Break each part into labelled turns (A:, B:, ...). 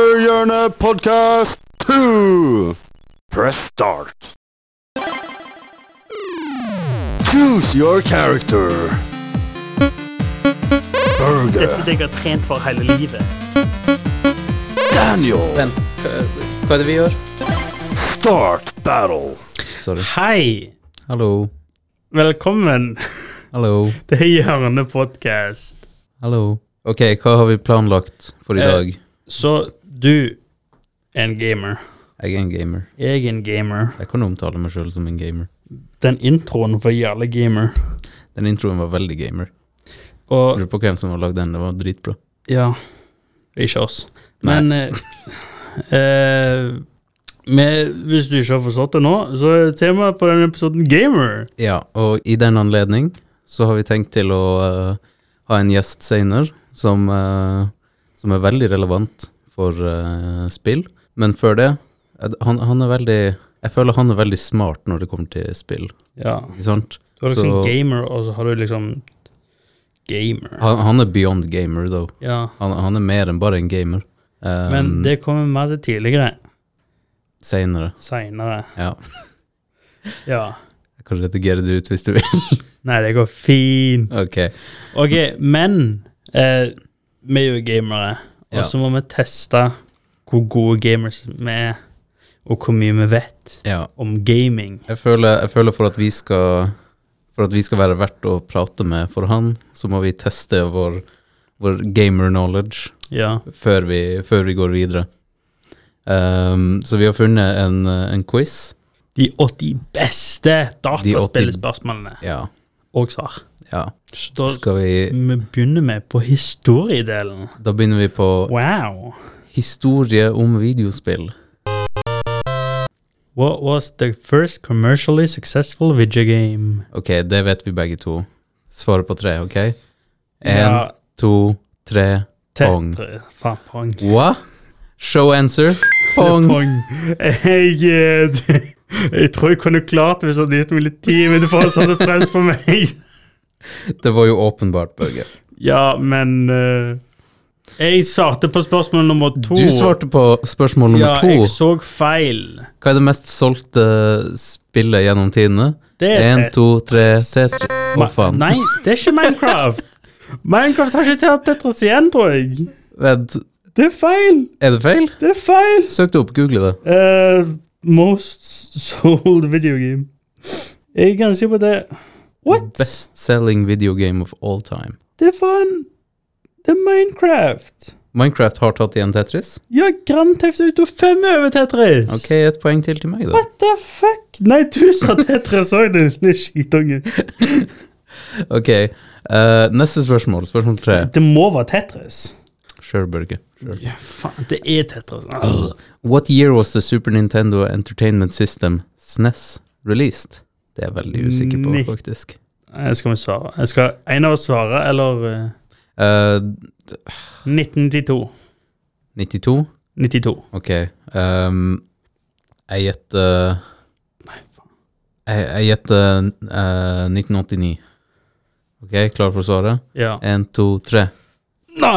A: Anime Podcast 2! Press start. Choose your character.
B: Dette
A: Burger.
B: jeg har trent for hele livet.
A: Daniel.
C: Vent, hva- hva er det vi gjør?
A: Start battle.
C: Sorry.
B: Hei!
C: Hallo.
B: Velkommen
C: Hallo.
B: til Hjørnepodkast.
C: Hallo. Ok, hva har vi planlagt for i
B: Eh.
C: dag?
B: Så du er en gamer.
C: Jeg er en gamer.
B: Jeg er en gamer.
C: Jeg kan omtale meg sjøl som en gamer.
B: Den introen for jævla gamer.
C: Den introen var veldig gamer.
B: Og
C: Lurer på hvem som har lagd den. Det var dritbra.
B: ja Ikke oss.
C: Nei.
B: Men eh, eh, med, hvis du ikke har forstått det nå, så er temaet på denne episoden gamer.
C: Ja, og i den anledning så har vi tenkt til å eh, ha en gjest seinere som, eh, som er veldig relevant for eh, spill. Men før det eh, han, han er veldig Jeg føler han er veldig smart når det kommer til spill,
B: Ja.
C: ikke sant?
B: Du har liksom
C: Så-
B: gamer, og så har du liksom gamer.
C: Han, han er beyond gamer, though.
B: Ja.
C: Han, han er mer enn bare en gamer. Um,
B: Men det kommer mer til tidligere.
C: Seinere.
B: Seinere.
C: Ja.
B: Ja.
C: Jeg kan redigere det ut hvis du vil.
B: Nei, det går fint.
C: ok.
B: Ok, men eh, vi er jo gamere,
C: Ja.
B: og så må vi teste hvor gode gamers vi er, og hvor mye vi vet
C: Ja.
B: om gaming.
C: Jeg føler, jeg føler for at vi skal For at vi skal være verdt å prate med for han, så må vi teste vår, vår gamer knowledge
B: Ja.
C: før vi, før vi går videre. Um, så vi har funnet en, eh, en quiz.
B: De 80 beste
C: 80
B: dataspillspørsmålene
C: Ja.
B: og svar.
C: ja.
B: Så da
C: Skal vi
B: vi begynner vi på historiedelen.
C: Da begynner vi på
B: Wow.
C: historie om videospill.
B: What was the first commercially successful video game?
C: Ok, det vet vi begge to. Svaret på tre, ok? En,
B: Ja,
C: to, tre Pong.
B: Tetra. Faen, pong.
C: Hva? Show answer? Pong.
B: Pong. Jeg, eh, d- jeg tror jeg kunne klart det hvis du hadde gitt meg litt tid, men du får sånn press på meg.
C: Det var jo åpenbart, Børge.
B: Ja, men eh, Jeg svarte på spørsmål nummer to.
C: Du svarte på spørsmål nummer
B: Ja, jeg
C: to.
B: så feil.
C: Hva er det mest solgte spillet gjennom tidene?
B: Det er
C: En,
B: Tet-
C: to, tre, Tetris. Å,
B: Ma-
C: faen.
B: Nei, det er ikke Minecraft. Minecraft har ikke tatt Tetris igjen, tror jeg.
C: Vent,
B: Det er feil.
C: er det feil?
B: Det er feil.
C: Søk det opp, google det.
B: Eh, most sold video game. Jeg er ganske på det. What?
C: Best-selling video game of all time.
B: Det er faen Det er Minecraft.
C: Minecraft har tatt igjen Tetris.
B: Ja, Grand Theft Auto 5 er over Tetris.
C: Ok, et poeng til til meg, da.
B: What the fuck? Nei, du sa Tetris òg, din lille skitunge.
C: Ok, eh, neste spørsmål. Spørsmål tre.
B: Det må være Tetris.
C: Sure, Børge. Sure.
B: Ja, faen. Det er Tetris. Ah.
C: What year was the Super Nintendo Entertainment System, SNES, released? Det er jeg veldig usikker på,
B: Nitt-
C: faktisk.
B: Eh, Skal vi svare? Jeg skal en av oss svare, eller eh,
C: Eh,
B: 1992.
C: 92?
B: 92.
C: Ok. ehm, jeg gjetter
B: Nei, faen.
C: jeg, jeg gjetter eh, 1989. Ok, klar for svaret?
B: Ja.
C: Én, to, tre.
B: Nå,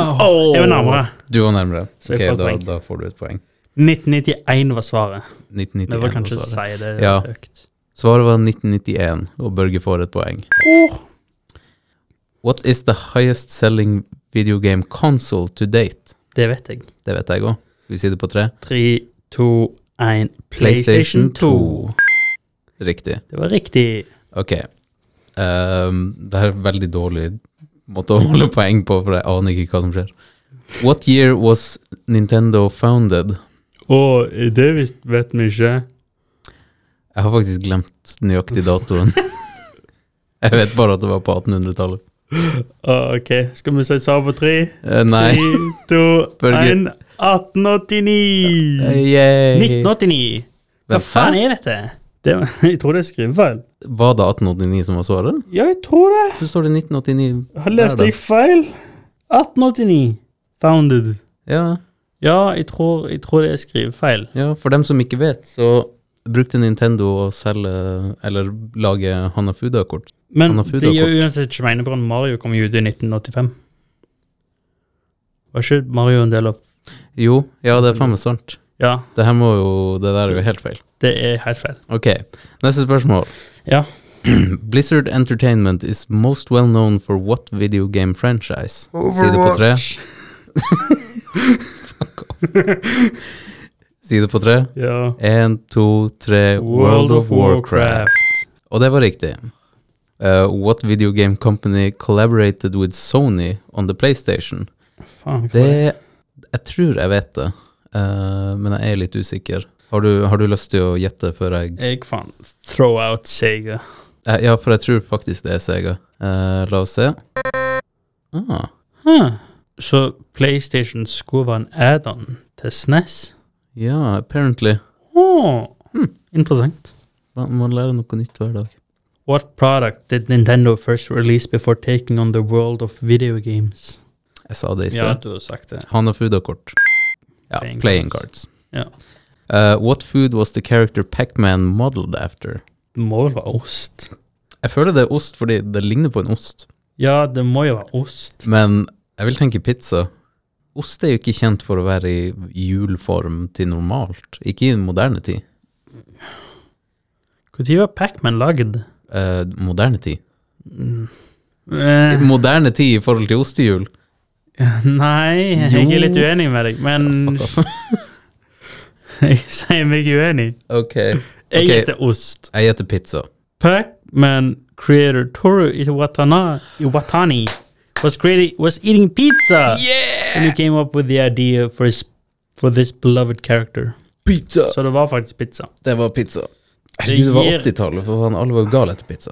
B: Jeg var nærmere.
C: Du var nærmere.
B: Så
C: Ok,
B: jeg får et
C: da,
B: poeng.
C: da får du et poeng.
B: 1991 var svaret.
C: 1991
B: Vi bør
C: var
B: kanskje
C: svaret.
B: si det
C: Ja.
B: høyt.
C: Svaret var 1991, og Børge får et poeng.
B: Oh.
C: What is the highest selling video game console to date?
B: Det vet jeg.
C: Det vet jeg òg. Skal vi si det på tre?
B: 3, 2, 1 PlayStation 2.
C: Riktig.
B: Det var riktig.
C: Ok. Ehm, det her er veldig dårlig måte å holde poeng på, for jeg aner ikke hva som skjer. What year was Nintendo founded?
B: Og det vis- vet vi ikke.
C: Jeg har faktisk glemt nøyaktig datoen. jeg vet bare at det var på 1800-tallet.
B: Ah, OK, skal vi si svar på tre?
C: Eh, nei.
B: 3, 2,
C: Børge.
B: 1 1889.
C: Eh, Yay.
B: 1989. Hva
C: Vent,
B: faen
C: hæ?
B: er dette? Det, var- jeg tror det er skrivefeil.
C: Var det 1889 som var svaret?
B: Ja, jeg tror det.
C: Hvorfor står det 1989?
B: Har
C: Der,
B: lest
C: da.
B: jeg feil? 1889. Founded.
C: Ja,
B: Ja, jeg tror, jeg tror det er skrivefeil.
C: Ja, for dem som ikke vet, så brukte Nintendo å selge, eller lage Hanafuda-kort.
B: Men
C: Han har
B: det gjør
C: Fuda-kort.
B: uansett ikke mening på at Mario kom jo ut i 1985. Var ikke Mario en del av
C: Jo, ja, det er faen meg sant.
B: Ja,
C: Det her må jo Det der er jo helt feil.
B: det er helt feil.
C: Ok, neste spørsmål.
B: Ja.
C: Blizzard Entertainment is most well known for what video game franchise? Side på tre. Side på tre.
B: Ja.
C: Én, to, tre World of Warcraft. Og det var riktig. Uh, what video game company collaborated with Sony on the PlayStation?
B: Faen, hva var det?
C: Det Jeg tror jeg vet det, eh, men jeg er litt usikker. Har du, har du lyst til å gjette før jeg
B: Jeg faen throw out Sega.
C: Eh, Ja, for jeg tror faktisk det er Sega. Eh, la oss se. Ah,
B: Huh. Så PlayStation skulle være en add-on til E SNES?
C: ja, apparently.
B: Åh, Oh. Interessant.
C: Man, man lærer noe nytt hver dag.
B: What product did Nintendo first release before taking on the world of video games?
C: Jeg sa det i
B: Ja,
C: sted.
B: du har sagt det.
C: Hanafuda-kort. Ja,
B: Playing
C: playing
B: cards.
C: cards.
B: Ja.
C: Eh, what food was the character Pac-Man modeled after?
B: Det må jo være ost.
C: Jeg føler det er ost fordi det ligner på en ost,
B: Ja, det må jo være ost.
C: men jeg vil tenke pizza. Ost er jo ikke kjent for å være i hjulform til normalt, ikke i moderne tid.
B: Når var Pacman lagd?
C: Eh, moderne tid?
B: Eh,
C: Moderne tid i forhold til ostehjul?
B: nei, jeg er litt
C: Jo.
B: uenig med deg, men
C: Fuck off.
B: jeg sier meg uenig.
C: ok.
B: Jeg
C: Ok.
B: heter ost.
C: Jeg gjetter pizza.
B: Pac-Man creator Toru Iwatana, Iwatani was creating was eating pizza when he came up with the idea for his for this beloved character.
C: Pizza!
B: Så det var faktisk pizza.
C: Det var pizza.
B: Det
C: Herregud, det var
B: gir-
C: 80-tallet, for faen, alle var jo gale etter pizza.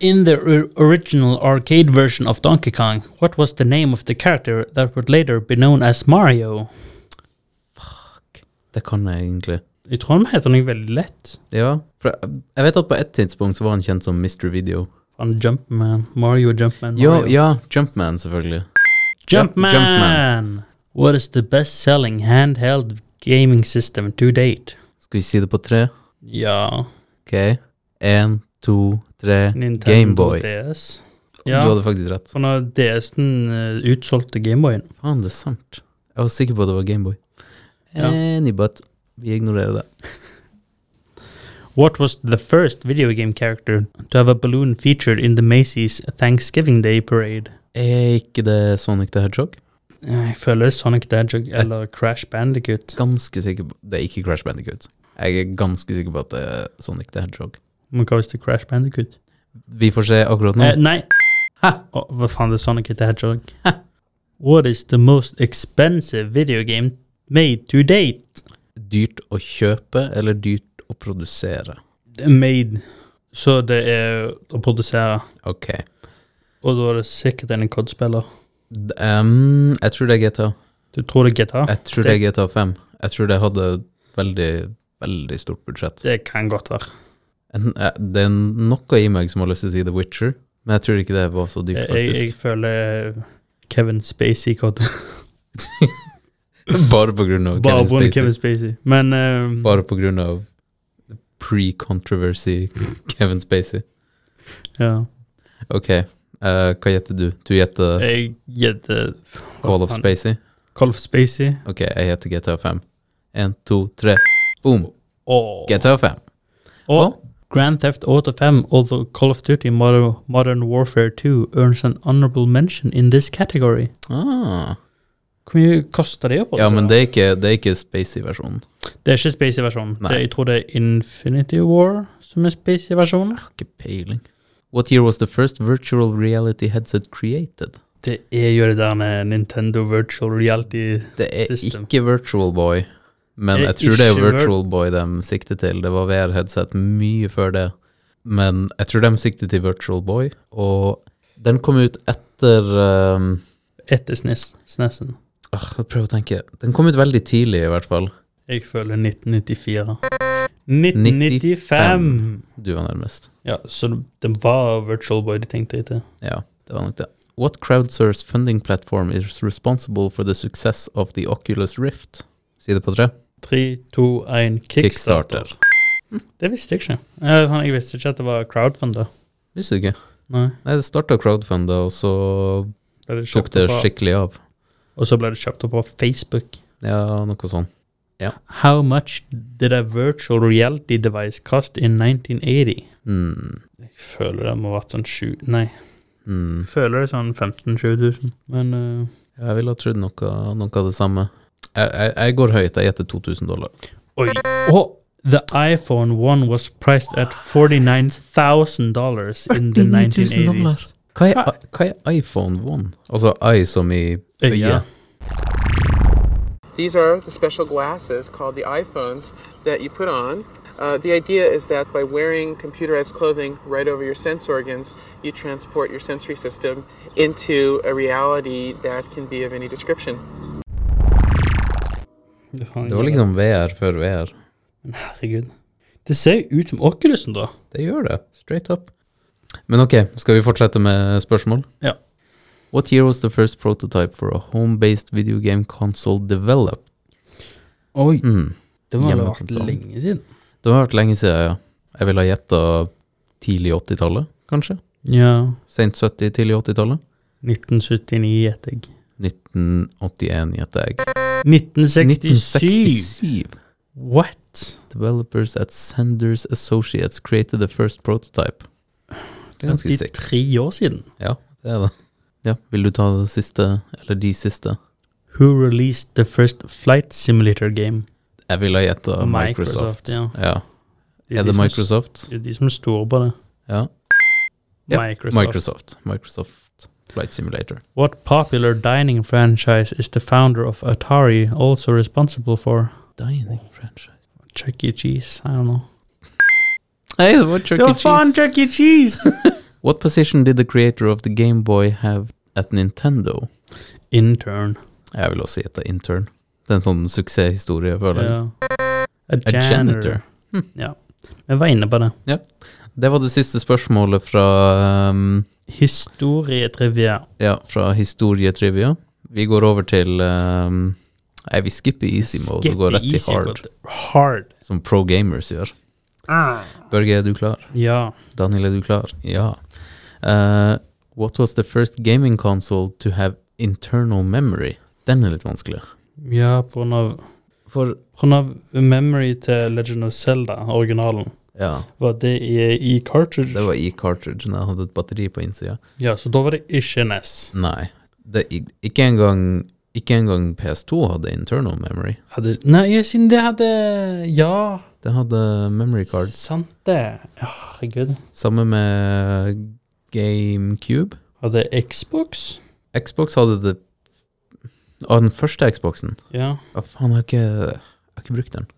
B: In the or- original arcade version of Donkey Kong, what was the name of the character that would later be known as Mario?
C: Det kan jeg egentlig.
B: I Trondheim heter han jo veldig lett.
C: Ja, for jeg, jeg vet at på et tidspunkt så var han kjent som Mr. Video.
B: Han Jumpman. Mario Jumpman.
C: Ja,
B: Mario.
C: ja, Jumpman selvfølgelig.
B: Jumpman!
C: Ja, Jumpman.
B: What is the best-selling handheld gaming system to date?
C: Skal vi si det på tre?
B: Ja.
C: Ok, en, to, tre,
B: Nintendo
C: Gameboy.
B: DS.
C: Du
B: Ja, sånn
C: hadde faktisk rett.
B: for når DS-en eh, utsolgte Gameboyen
C: Faen, det er sant. Jeg var sikker på at det var Gameboy.
B: Ja.
C: Anybutt, vi ignorerer det.
B: What was the first video game character to have a balloon featured in the Macy's Thanksgiving Day Parade?
C: Er ikke det Sonic the Hedgehog?
B: Eh, Jeg føler det er Sonic the Hedgehog eller Crash Bandicoot.
C: Ganske sikker på, det er ikke Crash Bandicoot. Jeg er ganske sikker på at det er Sonic the Hedgehog.
B: Men hva hvis det er Crash Bandicoot?
C: Vi får se akkurat nå.
B: Eh, nei!
C: Ha!
B: Å, hva faen, det er Sonic the Hedgehog. What is the most expensive video game made to date?
C: Dyrt å kjøpe eller dyrt å produsere?
B: Made. Så det er å produsere,
C: Ok.
B: og da er det sikkert en kodespiller.
C: D- ehm, jeg tror det er GTA.
B: Du tror det er GTA?
C: Jeg tror det er GTA 5. Jeg tror det hadde veldig, veldig stort budsjett.
B: Det kan godt være.
C: En- eh, Det er noe i meg som har lyst til å si The Witcher, men jeg tror ikke det var så dyrt,
B: Jeg, jeg, jeg
C: faktisk.
B: føler Kevin Spacey godt.
C: Bare på grunn av Kevin
B: Bare på grunn av
C: Spacey.
B: Kevin Spacey. Men eh,
C: Bare på grunn av pre-controversy Kevin Spacey.
B: ja.
C: Ok, eh, hva gjetter du? Du gjetter
B: jeg gjetter
C: Call of Spacey?
B: Call of Spacey.
C: Ok, jeg gjetter GTA 5. En, to, tre. Boom!
B: Og,
C: GTA 5.
B: og Grand Theft Auto 5, although Call of Duty Modern, Modern Warfare 2 earns an honorable mention in this category.
C: Ah.
B: Hvor mye koster det å produsere?
C: Ja, men det er ikke, det er ikke Spacey-versjonen.
B: Det er ikke Spacey-versjonen.
C: Nei.
B: Det- Jeg tror det er Infinity War som er Spacey-versjonen.
C: Ikke peiling. What year was the first virtual reality headset created?
B: Det er jo det der med Nintendo Virtual Reality
C: Det er
B: System.
C: ikke Virtual Boy, men
B: Det er
C: jeg tror det er
B: ikke vir-
C: Virtual Boy de sikter til. Det var VR-headset mye før det, men jeg tror de sikter til Virtual Boy, og den kom ut etter um,
B: etter SNES SNES-en.
C: åh, Jeg prøver å tenke. Den kom ut veldig tidlig, i hvert fall.
B: Jeg føler 1994. 1995!
C: Du var nærmest.
B: Ja, så det var Virtual Boy de tenkte etter.
C: Ja, det var nok det. What crowdsource funding platform is responsible for the success of the Oculus Rift? Side på tre.
B: 3, 2, 1, kickstarter.
C: Kickstarter.
B: Det visste jeg ikke. Eh, sånn, Jeg visste ikke at det var crowdfunder.
C: Visste du ikke?
B: Nei.
C: Nei, det starta crowdfunda, og så
B: Ble det
C: tok
B: kjøpt
C: det
B: opp av,
C: skikkelig av.
B: og så ble det kjøpt opp på Facebook.
C: Ja, noe sånn. sånt.
B: How much did a virtual reality device cost in 1980?
C: Mm.
B: Jeg føler det må ha vært sånn sju Nei,
C: Mm.
B: jeg føler det er sånn 15 000-20 000. Men eh,
C: Jeg ville ha trodd noe, noe av det samme. Jeg, jeg, jeg går høyt. Jeg gjetter 2000 dollar.
B: Oi. Oh, the iPhone 1 was priced at $49,000 in the
C: 49 000 dollar.
B: 1980s.
C: Hva er, hva er iPhone 1? Altså I som i øye.
B: Øye.
D: These are the special glasses called the iPhones that you put on. Uh, the idea is that by wearing computerized clothing right over your sense organs, you transport your sensory system into a reality that can be of any description.
C: Det var liksom VR før VR.
B: Herregud. Det ser jo ut som Oculusen, da.
C: Det gjør det. Straight up. Men ok, skal vi fortsette med spørsmål?
B: Ja.
C: What year was the first prototype for a home-based video game console developed?
B: Oi,
C: Mm.
B: det må ha vært
C: hjemmekonsol.
B: lenge siden.
C: Det har vært lenge siden, ja. Jeg ville ha gjetta tidlig 80-tallet, kanskje?
B: Ja.
C: Sent 70, tidlig 80-tallet?
B: 1979, gjetter jeg.
C: 1981, gjetter jeg.
B: 1967.
C: 1967.
B: What?
C: Developers at Senders Associates created the first prototype. Det er ganske sick.
B: 53 år siden.
C: Ja, det er det. Ja, vil du ta det siste, eller de siste?
B: Who released the first flight simulator game?
C: Jeg ville ha gjetta Microsoft.
B: Microsoft, ja.
C: ja. Er det
B: de som-
C: Microsoft?
B: Det er de som står på det.
C: Ja. Ja,
B: Microsoft.
C: Microsoft. Microsoft Flight Simulator.
B: What popular dining franchise is the founder of Atari also responsible for?
C: Dining franchise.
B: Chuck E. Cheese? I don't know.
C: Nei, det var Chuck E. Cheese.
B: Chuck E. Cheese!
C: What position did the creator of the Game Boy have at Nintendo?
B: Intern.
C: Jeg vil også gjette intern. Det er en sånn suksesshistorie, føler jeg.
B: Ja. A
C: A
B: janitor. Jeg var inne på det.
C: Det var det siste spørsmålet fra, um,
B: Historietrivia.
C: ja, fra historietrivia. Vi går over til um, Nei, vi skipper easy mode og går rett til
B: Easy
C: hard,
B: mode. Hard.
C: som pro gamers gjør.
B: Ah.
C: Børge, er du klar?
B: Ja.
C: Daniel, er du klar? Ja. Eh, what was the first gaming console to have internal memory? Den er litt vanskelig.
B: Ja, på grunn av
C: For
B: På grunn av memory til Legend of Zelda, originalen,
C: ja,
B: var det i, i cartridge.
C: det var i cartridgen. Jeg hadde et batteri på innsida.
B: Ja, så da var det ikke NES.
C: Nei, det, ik- ikke engang ikke engang PS2 hadde internal memory.
B: Hadde, nei, jeg siden det hadde Ja,
C: Det hadde memory cards.
B: sant det. Ja, Herregud.
C: Samme med GameCube.
B: Hadde Xbox?
C: Xbox hadde det Av den første Xboxen.
B: Ja.
C: Å, faen, jeg har ikke, jeg har ikke brukt den.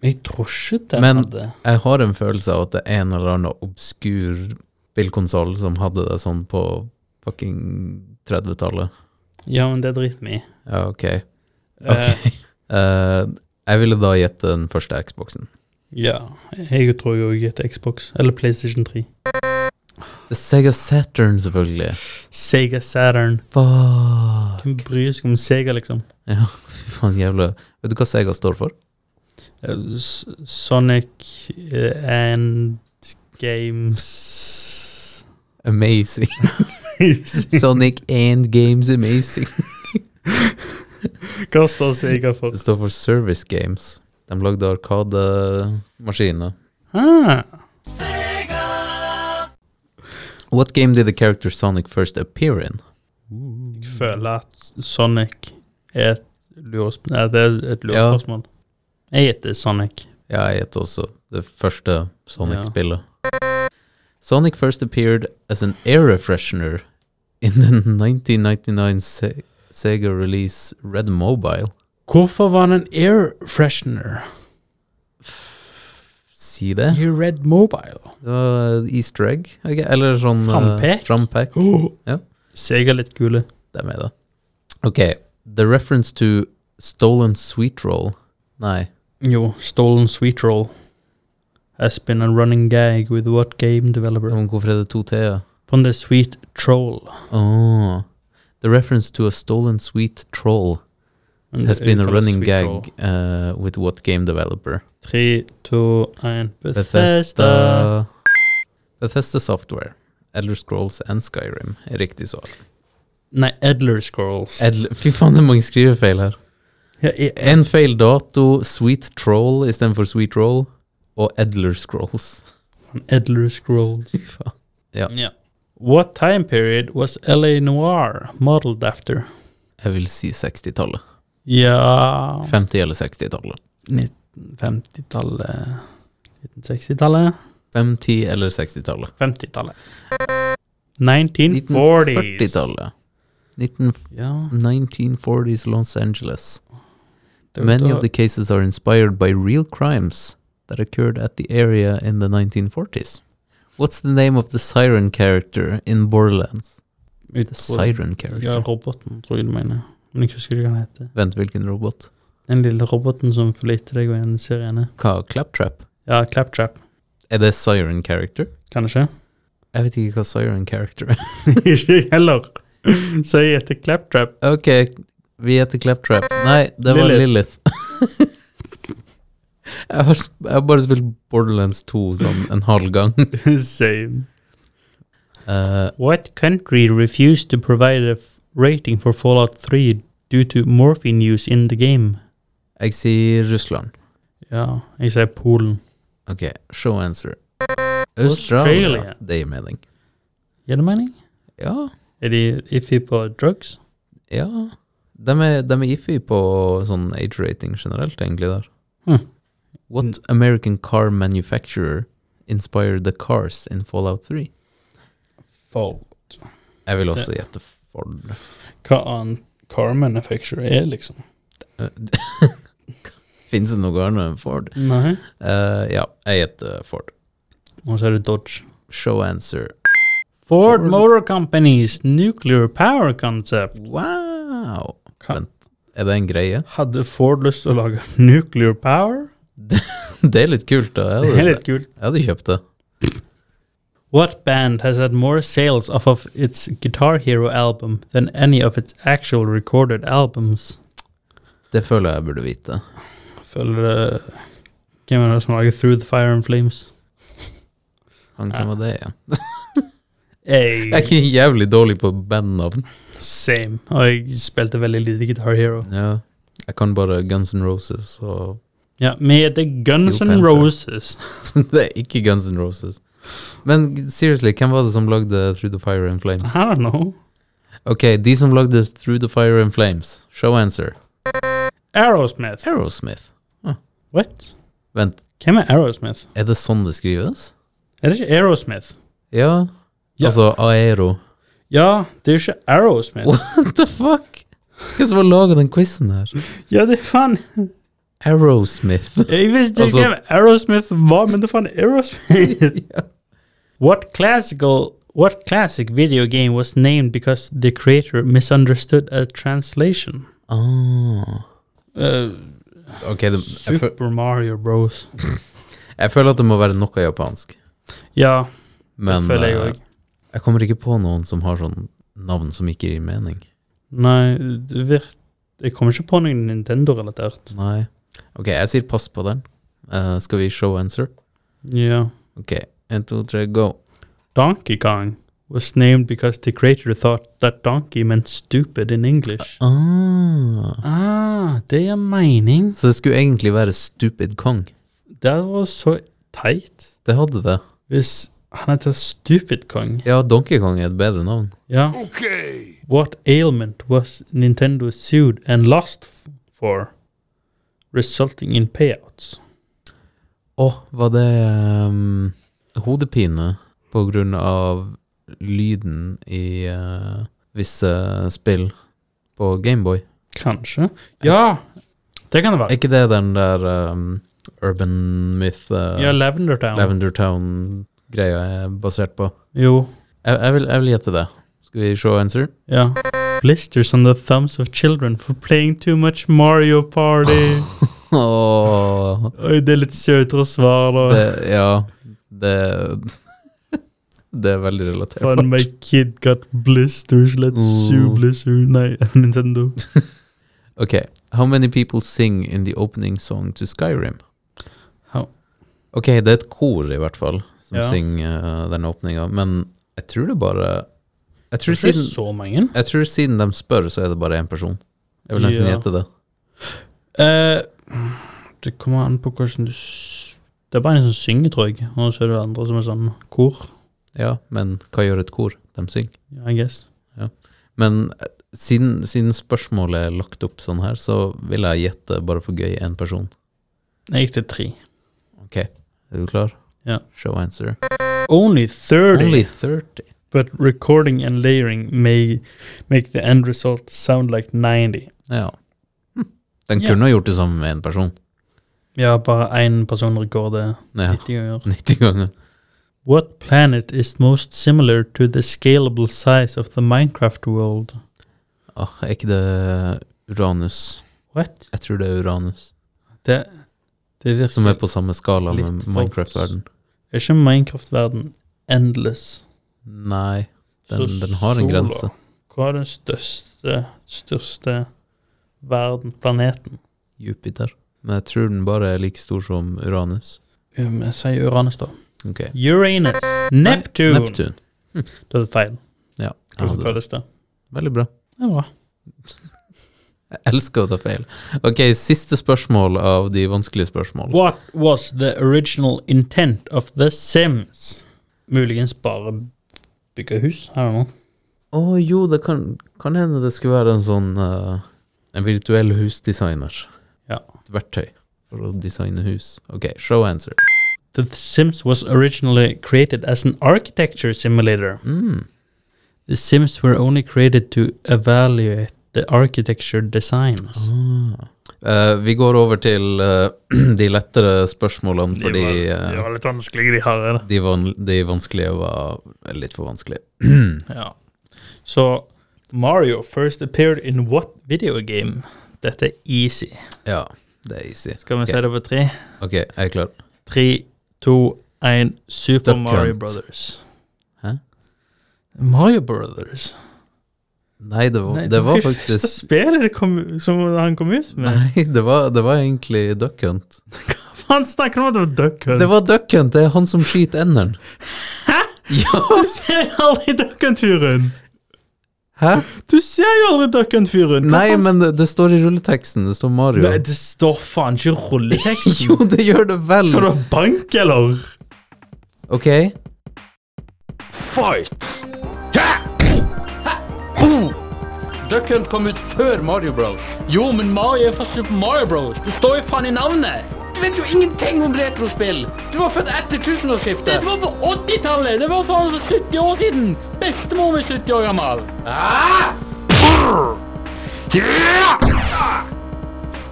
B: Men jeg tror ikke den
C: Men-
B: hadde
C: Jeg har en følelse av at det er en eller annen obskur spillkonsoll som hadde det sånn på fucking 30-tallet.
B: Ja, men det driter vi i.
C: Ja, ok.
B: Eh,
C: Ok. Eh, jeg ville da gjette den første Xboxen.
B: ja. Jeg tror jo jeg heter Xbox. Eller PlayStation 3.
C: Sega Saturn, selvfølgelig.
B: Sega Saturn.
C: Fuck.
B: Hvem bryr seg om Sega, liksom?
C: Ja, fy faen jævla Vet du hva Sega står for?
B: Eh, S Sonic eh, and Games
C: Amazing. Sonic and Games Amazing.
B: Hva står Sega for?
C: Det står for Service Games. De lagde arkademaskiner.
B: Ah,
C: What game did the character Sonic first appear in?
B: jeg føler at Sonic er et lurespørsmål. Ja, det er et lurespørsmål. Jeg heter Sonic.
C: Ja, jeg gjetter også det første Sonic-spillet. Sonic first appeared as an air refreshener in the 1999 Se Sega release Red Mobile.
B: Hvorfor var han en air freshener
C: Si det.
B: i Red Mobile?
C: Det var uh, easter egg, ok? eller sånn eh,
B: Frampek?
C: frampek. Ja.
B: Sega litt kule.
C: Det er med det. Ok, the reference to stolen sweet roll. Nei,
B: Jo, Stolen Sweet Roll. Has been a running gag with what game developer?
C: men hvorfor er det to t-er?
B: From the Sweet Troll.
C: Åh. The reference to a stolen sweet troll has been a running gag uh, with what game developer?
B: Tre, to, én Bethesda.
C: Bethesda. Bethesda Software. Elder Scrolls and Skyrim er riktig svar.
B: Nei, Edler Scrolls.
C: Edl Fy faen, det er mange skrivefeil her.
B: Ja, i-
C: En feil dato, Sweet Troll istedenfor Sweet Roll, og Edler Scrolls.
B: Edler Scrolls.
C: Fy faen.
B: yeah. What time period was L.A. Noir modeled after?
C: Jeg vil si 60-tallet.
B: Ja
C: 50- eller 60-tallet.
B: 1950-tallet 1960-tallet
C: 50- eller 60-tallet.
B: 50-tallet 1940s
C: 1940-tallet. 19,
B: Ja,
C: 1940s Los Angeles.
B: det var
C: Many
B: da-
C: of the cases are inspired by real crimes that occurred at the area in the 1940s. What's the name of the siren character in Borderlands?
B: ut
C: The
B: på-
C: siren character.
B: Ja, roboten, tror jeg du mener. Men jeg husker ikke hva han heter.
C: Vent, hvilken robot?
B: Den lille roboten som forlater deg og en sirene.
C: Hva? Claptrap?
B: Ja, Claptrap,
C: Er det siren character?
B: kanskje?
C: Jeg vet ikke hva siren character er.
B: ikke jeg heller. Så jeg heter Claptrap.
C: ok, vi heter Claptrap. Nei, det var
B: Lilith.
C: Lilith. jeg, har, sp- jeg har bare spilt Borderlands 2 sånn en halv gang.
B: Same.
C: Eh,
B: What country refused to provide a f- rating for Fallout 3 due to morphine use in the game?
C: jeg sier Russland.
B: Ja, jeg sier Polen.
C: Ok, show answer.
B: Australia.
C: Australia. Det gir mening.
B: Gir det mening?
C: Ja,
B: Er de iffy på drugs?
C: ja. De er, de er iffy på sånn age rating generelt, egentlig, der.
B: Hm.
C: What American car manufacturer inspired the cars in Fallout 3?
B: Fallout.
C: Jeg vil også gjette Ford.
B: Hva annet car manufacturer er, liksom?
C: Fins det noe annet enn Ford?
B: Nei.
C: Eh, ja, jeg gjetter Ford.
B: Og så er det Dodge.
C: Show answer.
B: Ford Motor Company's nuclear power concept.
C: Wow!
B: Hva?
C: Vent, er det en greie?
B: Hadde Ford lyst til å lage nuclear power?
C: Det er litt kult, da.
B: Det
C: Jeg
B: er
C: hadde,
B: litt kult.
C: jeg hadde kjøpt det.
B: What band has had more sales off of its Guitar Hero album than any of its actual recorded albums?
C: Det føler jeg jeg burde vite.
B: Føler det Hvem er det som lager Through the Fire and Flames?
C: Han, hvem var det igjen?
B: Hey,
C: Jeg er ikke jævlig dårlig på bandnavn.
B: same. Og jeg spilte veldig lite Guitar Hero.
C: Ja. Jeg kan bare Guns N' Roses, og
B: Ja, vi heter Guns
C: Steel
B: N'
C: Panther.
B: Roses.
C: det er ikke Guns N' Roses. Men seriously, hvem var det som lagde Through the Fire and Flames?
B: I don't know.
C: Ok, de som lagde Through the Fire and Flames, show answer.
B: Aerosmith.
C: Aerosmith.
B: What?
C: Vent,
B: Hvem er Aerosmith?
C: er det sånn det skrives?
B: Er det ikke Aerosmith?
C: Ja.
B: Ja.
C: Altså Aero.
B: Ja, det er jo ikke Aerosmith.
C: What the fuck? Hva som har laga den quizen her?
B: Ja, det er faen
C: Aerosmith.
B: Jeg visste
C: Altså-
B: ikke hvem Aerosmith var, men det er faen Aerosmith. What classical What classic video game was named because the creator misunderstood a translation? Uh,
C: Ah. ok, det, jeg, fø-
B: Super Mario Bros.
C: jeg føler at det må være noe japansk.
B: Ja, det
C: Men
B: føler jeg
C: eh,
B: òg.
C: Jeg kommer ikke på noen som har sånn navn som ikke gir mening.
B: Nei, du vet Jeg kommer ikke på noe Nintendo-relatert.
C: Nei. Ok, jeg sier pass på den. Eh, skal vi show answer?
B: Ja.
C: Ok, en, to, tre, go.
B: Donkey Kong was named because the creator thought that donkey meant stupid in English.
C: Ah.
B: Ah, det gir mening.
C: Så det skulle egentlig være Stupid Kong.
B: Det var så teit.
C: Det hadde det.
B: Hvis han heter Stupid Kong
C: Ja, Donkey Kong er et bedre navn.
B: Ja.
A: Okay.
B: What ailment was Nintendo sued and lost f for, resulting in payouts?
C: Å, var det ehm, hodepine på grunn av lyden i eh, visse spill på Gameboy?
B: Kanskje. Ja! Det kan det
C: Er
B: være.
C: ikke det den der ehm, Urban Myth eh,
B: Ja, Lavender Town.
C: Lavender Town-greia er basert på?
B: Jo.
C: Jeg, jeg, vil, jeg vil gjette det. Skal vi show answer?
B: Ja. Blisters on the thumbs of children for playing too much Mario Party.
C: Åh,
B: Oi, det er litt søtere svar, da.
C: det, ja, det Det er veldig relatert.
B: Fun, my kid got blisters. Let's sue
C: Mm.
B: Blizzard. Nei, Nintendo.
C: Ok, how many people sing in the opening song to Skyrim?
B: How-
C: Ok, det er et kor i hvert fall som
B: Ja.
C: synger eh, den åpninga, men jeg tror det bare jeg tror,
B: Det er ikke
C: siden,
B: så mange.
C: jeg tror siden de spør, så er det bare én person. Jeg vil nesten
B: Ja.
C: gjette det.
B: Eh, det kommer an på hvordan du s Det er bare en som synger, tror jeg. Og så er det andre som er sånn kor.
C: Ja, men hva gjør et kor? De synger.
B: I guess.
C: Men eh, siden, siden spørsmålet er lagt opp sånn her, så vil jeg gjette bare for gøy én person.
B: Jeg gikk til tre.
C: Ok, er du klar?
B: Ja.
C: Show answer.
B: Only 30,
C: Only 30.
B: but recording and layering may make the end result sound like 90.
C: Ja. Hm. Den
B: Ja.
C: kunne ha gjort det sammen med én person.
B: Ja, bare én person rekorder
C: Ja,
B: 90 ganger.
C: 90 ganger.
B: What planet is most similar to the scalable size of the Minecraft world?
C: Åh, Ah, er ikke det Uranus?
B: What?
C: Jeg tror det er Uranus.
B: Det, det virker
C: Som er på samme skala
B: Litt
C: med
B: for-
C: Minecraft-verden.
B: Er ikke Minecraft-verden endless?
C: Nei, den,
B: Så
C: den har en
B: sola.
C: grense.
B: Hva er den største, største verden, planeten?
C: Jupiter. Men jeg tror den bare er like stor som Uranus.
B: Um, Jeg sier Uranus, da.
C: Ok.
B: Uranus. Neptune.
C: Neptun.
B: Da er det feil.
C: Ja. jeg
B: Hvordan
C: hadde det. er
B: føles det?
C: Veldig bra.
B: Det er bra.
C: Jeg elsker å ta feil. Ok, siste spørsmål av de vanskelige spørsmålene.
B: What was the original intent of The Sims? Muligens bare bygge hus? I don't know.
C: Å jo, det kan, kan hende det skulle være en sånn eh, En virtuell husdesigner.
B: Ja.
C: Et verktøy for å designe hus. Ok, show answer.
B: The Sims was originally created as an architecture simulator.
C: Mm.
B: The Sims were only created to evaluate the architecture designs.
C: Eh, vi går over til eh, de lettere spørsmålene, fordi eh,
B: var litt vanskelige, de her. er det.
C: de, van de vanskelige var litt for vanskelige.
B: Mm. Ja. Så Mario first appeared in what video game? Dette er easy.
C: Ja, det er easy.
B: Skal vi
C: Ok.
B: si det på tre?
C: Ok, jeg er klar.
B: Tre, to, én Super
C: Duck
B: Mario
C: Hunt.
B: Brothers.
C: Hæ?
B: Mario Brothers?
C: Nei, det var,
B: Nei, er
C: det var
B: jo første
C: faktisk
B: spillet det kom, som han kom ut med.
C: Nei, det var, det var egentlig Duck Hunt.
B: Han snakker om at det var Duck Hunt.
C: Det var Duck Hunt, det er han som skyter enderen. Ja,
B: Du ser jo aldri Duck Hunt-fyren!
C: hæ?
B: Du ser jo aldri Duck Hunt-fyren! Hva
C: Nei,
B: faen-
C: men det, det står i rulleteksten, det står Mario.
B: Nei, Det står faen ikke i rulleteksten!
C: Jo, det gjør det vel.
B: Skal du ha bank, eller?
C: Ok,
A: Fight! Ja! Boom! Duck Hunt kom ut før Mario Bros.
E: Jo, men Mario er fra Super Mario Bros. Det står jo faen i navnet.
A: Du vet jo ingenting om retrospill! Du var født etter
E: Det
A: tusenårsskiftet!
E: var på 80-tallet. Det var faen for 70 år siden. Bestemor var 70 år gammel.
A: Ah! Brr! Ja!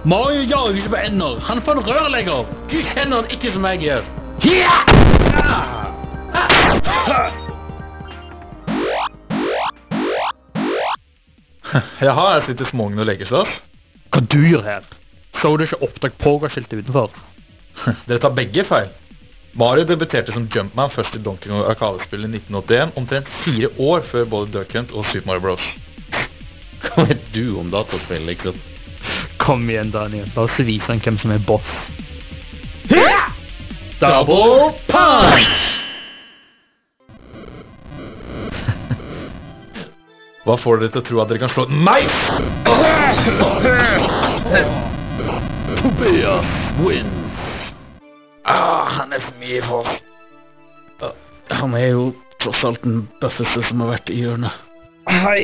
E: Mario jager ikke på ender. Han er faen rørlegger.
A: Du kjenner han ikke som jeg gjør. Ja!
E: Jeg har et lite smågne å legge seg. Hva du gjør her? Så du ikke opptak pågår-skiltet utenfor? Dere tar begge feil. Mario debuterte som Jumpman først i Donkey Kong Arkadespillet i 1981, omtrent fire år før både Duck Hunt og Super Mario Bros. Hva vet du om dataspill, liksom? Kom igjen, Daniel. La oss vise ham hvem som er boss. Double punch! Hva får dere til å tro at dere kan slå meg? Tobias wins. Ah, han er for mye for oss. Ah, Han er jo tross alt den bøffeste som har vært i hjørnet.
B: Hei.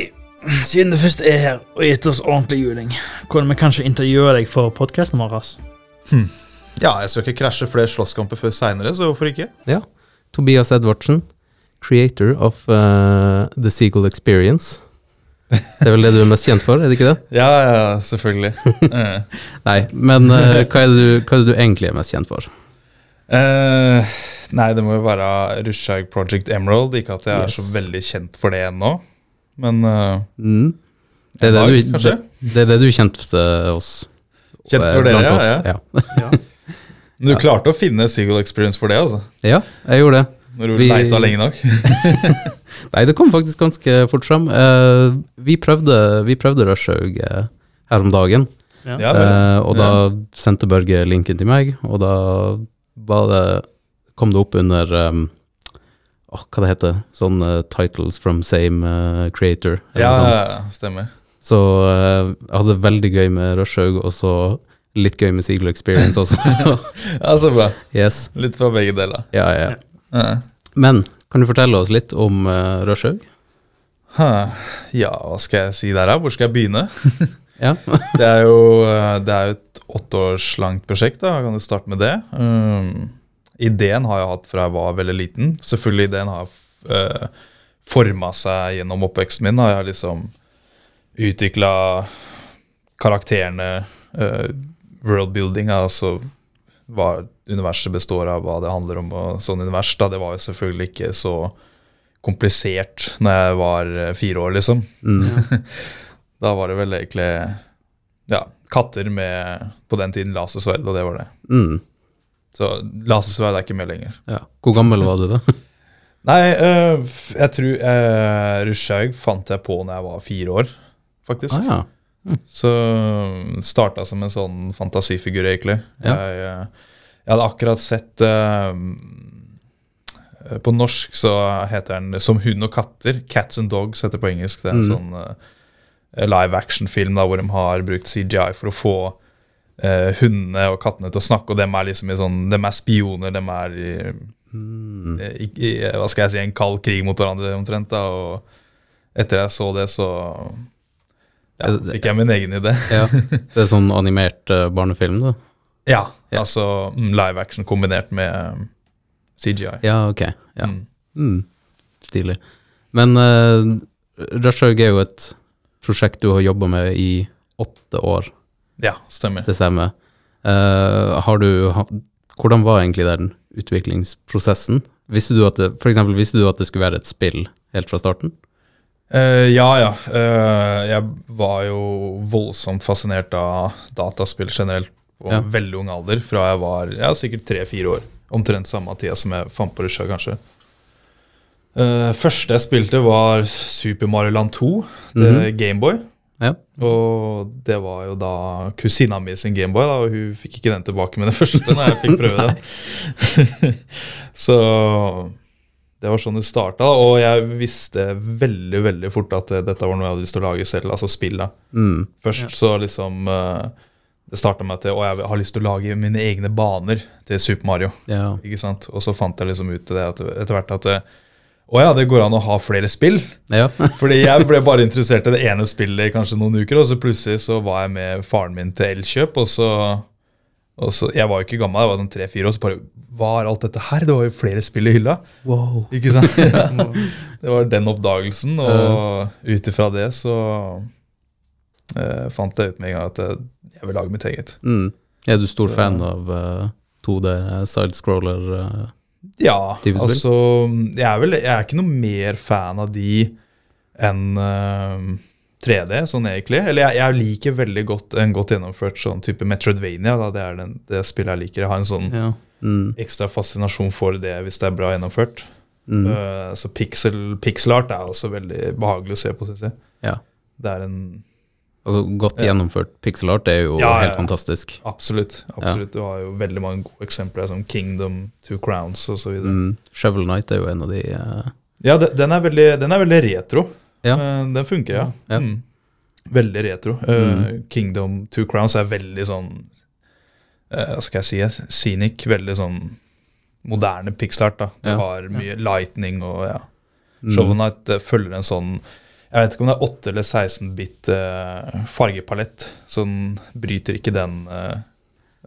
B: Siden du først er her og gitt oss ordentlig juling, kunne vi kanskje intervjue deg for podkasten vår? ass?
F: Ja, jeg skal ikke krasje flere slåsskamper før seinere, så hvorfor ikke?
C: ja. Tobias Edvardsen, creator of eh, The Seagull Experience. Det er vel det du er mest kjent for, er det ikke det?
F: Ja, ja, selvfølgelig. Eh,
C: Nei, men eh, hva, er det du, hva er det du egentlig er mest kjent for?
F: eh, nei, det må jo være Rushaug Project Emerald. Ikke at jeg er så
C: Yes.
F: veldig kjent for det ennå, men eh,
C: Mm. Det, er det,
F: En dag,
C: du, det,
F: kanskje?
C: det er det du kjente oss.
F: kjent
C: eh,
F: for dere,
C: blant
F: ja,
C: oss,
F: ja.
C: ja.
F: Men du klarte å finne Seagull Experience for det, altså?
C: Ja, jeg gjorde det.
F: Når du
C: Vi-
F: leita lenge nok?
C: Nei, det kom faktisk ganske fort fram. Eh, vi prøvde, vi prøvde Rushhaug eh, her om dagen,
F: ja, vel.
C: eh, og da sendte Børge linken til meg, og da var det, kom det opp under um, Åh, hva det heter Sånn eh, titles from same eh, creator.
F: ja,
C: Eller noe sånt.
F: stemmer.
C: Så eh, jeg hadde det veldig gøy med Rushhaug, og så litt gøy med Seagull Experience også.
F: Ja, så bra.
C: yes.
F: Litt fra begge deler.
C: Ja, ja.
F: Ja.
C: Men kan du fortelle oss litt om uh, Røshaug?
F: Huh. Ja, hva skal jeg si der, da? Hvor skal jeg begynne?
C: Ja.
F: Det er jo, eh, det er jo et åtteårslangt prosjekt, da. Kan du starte med det? Um, ideen har jeg hatt fra jeg var veldig liten. Selvfølgelig ideen har uh, forma seg gjennom oppveksten min. Da. Jeg har liksom utvikla karakterene, eh, worldbuilding, altså hva universet består av, hva det handler om og sånn univers. Da. Det var jo selvfølgelig ikke så komplisert når jeg var eh, fire år, liksom. Da var det vel egentlig ja, katter med på den tiden lasersverd, og det var det.
C: Mm.
F: Så lasersverd er ikke med lenger.
C: ja. Hvor gammel var du da?
F: Nei, øh, f- jeg tror øh, Rushhaug fant jeg på når jeg var fire år, faktisk.
C: Ah, ja.
F: Så starta som en sånn fantasifigur, egentlig.
C: Ja.
F: Jeg, eh, jeg hadde akkurat sett eh, På norsk så heter den Som hund og katter. Cats and Dogs heter det på engelsk. Det er
C: Mm.
F: en sånn eh, live action-film da, hvor de har brukt CGI for å få eh, hundene og kattene til å snakke, og dem er liksom i sånn Dem er spioner, dem er i,
C: Mm.
F: i, i Hva skal jeg si, en kald krig mot hverandre, omtrent. da, og etter jeg så det, så ja,
C: Altså, det-
F: fikk jeg min egen idé.
C: ja. Det er sånn animert eh, barnefilm, da?
F: Ja,
C: Ja.
F: altså mm, live action kombinert med um, CGI.
C: Ja, ok. Ja. Mm. Stilig. Men uh, Røshaug er jo et prosjekt du har jobba med i åtte år.
F: Ja, stemmer.
C: Det stemmer. Eh, har du, ha, hvordan var egentlig den utviklingsprosessen? Visste du at det, for eksempel, visste du at det skulle være et spill helt fra starten?
F: Eh, ja, ja. eh, jeg var jo voldsomt fascinert av dataspill generelt på
C: Ja.
F: veldig ung alder, fra jeg var ja, sikkert tre-fire år. Omtrent samme tida som jeg fant på Russia, kanskje. Eh, første jeg spilte, var Super Mario Land 2 til
C: Mhm.
F: Gameboy.
C: Ja.
F: Og det var jo da kusina mi sin Gameboy, da, og hun fikk ikke den tilbake med det første når jeg fikk prøve den. så det var sånn det starta, og jeg visste veldig veldig fort at eh, dette var noe jeg hadde lyst til å lage selv, altså spill. da.
C: Mm.
F: Først så liksom eh, Det starta med at jeg, og jeg har lyst til å lage mine egne baner til Super Mario.
C: ja.
F: ikke sant? Og så fant jeg liksom ut til det at, etter hvert at eh, å ja, det går an å ha flere spill.
C: Ja.
F: Fordi jeg ble bare interessert i det ene spillet i kanskje noen uker, og så plutselig så var jeg med faren min til Elkjøp, og så, og så Jeg var jo ikke gammel, jeg var sånn tre-fire, og så bare Hva er alt dette her? Det var jo flere spill i hylla.
B: Wow.
F: Ikke sant? det var den oppdagelsen, og ut ifra det så eh, fant jeg ut med en gang at jeg, jeg vil lage mitt eget.
C: Mm. Er du stor
F: Så-
C: fan av eh, 2D sidescroller? eh?
F: Ja,
C: Type spill?
F: altså jeg er, vel, jeg er ikke noe mer fan av de enn eh, 3D, sånn egentlig. Eller jeg, jeg liker veldig godt en godt gjennomført sånn type Metroidvania. Da. Det er den, det spillet jeg liker. Jeg har en sånn
B: Ja.
C: mm.
F: ekstra fascinasjon for det hvis det er bra gjennomført.
C: Mm.
F: Eh, så pixel, pixelart er også veldig behagelig å se på, syns jeg.
C: Ja.
F: Det er en
C: Altså, godt gjennomført pixel art er jo
F: Ja, ja,
C: helt
F: ja.
C: fantastisk.
F: Absolutt. absolutt. Du har jo veldig mange gode eksempler, som Kingdom, Two Crowns osv. videre
C: Mm. Shovel Knight er jo en av de eh,
F: Ja, de- den er veldig, den er veldig retro.
C: Ja.
F: Eh, Den funker, ja.
C: Ja. Mm.
F: Mm. Veldig retro. Eh, Kingdom Two Crowns er veldig sånn eh, Hva skal jeg si? Scenic. Veldig sånn moderne pixelart. da. Du
C: Ja. Mm.
F: har mye lightning og ja. Shovel Knight eh, følger en sånn Jeg vet ikke om det er 8 eller 16-bit eh, fargepalett. Så den bryter ikke den eh,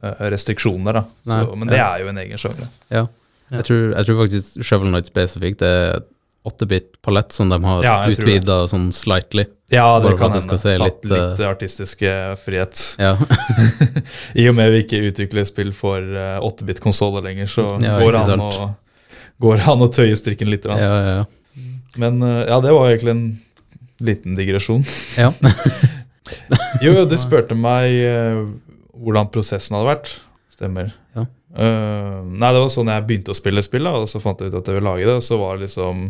F: eh, restriksjonen der, da.
C: Nei,
F: Så, men det er jo en egen sjanger.
C: Ja. Jeg tror, jeg tror faktisk Shovel Knight spesifikt er 8-bit-palett som de har
F: Ja, jeg tror det.
C: utvida sånn slightly.
F: Ja, det
C: Bare for
F: kan
C: at det skal
F: hende.
C: se
F: Tatt
C: litt, eh,
F: litt artistiske frihet.
C: Ja.
F: I og med vi ikke utvikler spill for eh, 8-bit-konsoller lenger, så
C: Ja,
F: går,
C: ikke
F: det an
C: sant.
F: å, går det an å tøye strikken litt.
C: ja,
F: grann.
C: ja, ja.
F: Men eh, ja, det var egentlig en liten digresjon.
C: ja.
F: Jo, jo, du spurte meg eh, hvordan prosessen hadde vært. Stemmer.
C: Ja.
F: Eh, nei, det var sånn jeg begynte å spille spill, da, og så fant jeg ut at jeg ville lage det. Og så var det liksom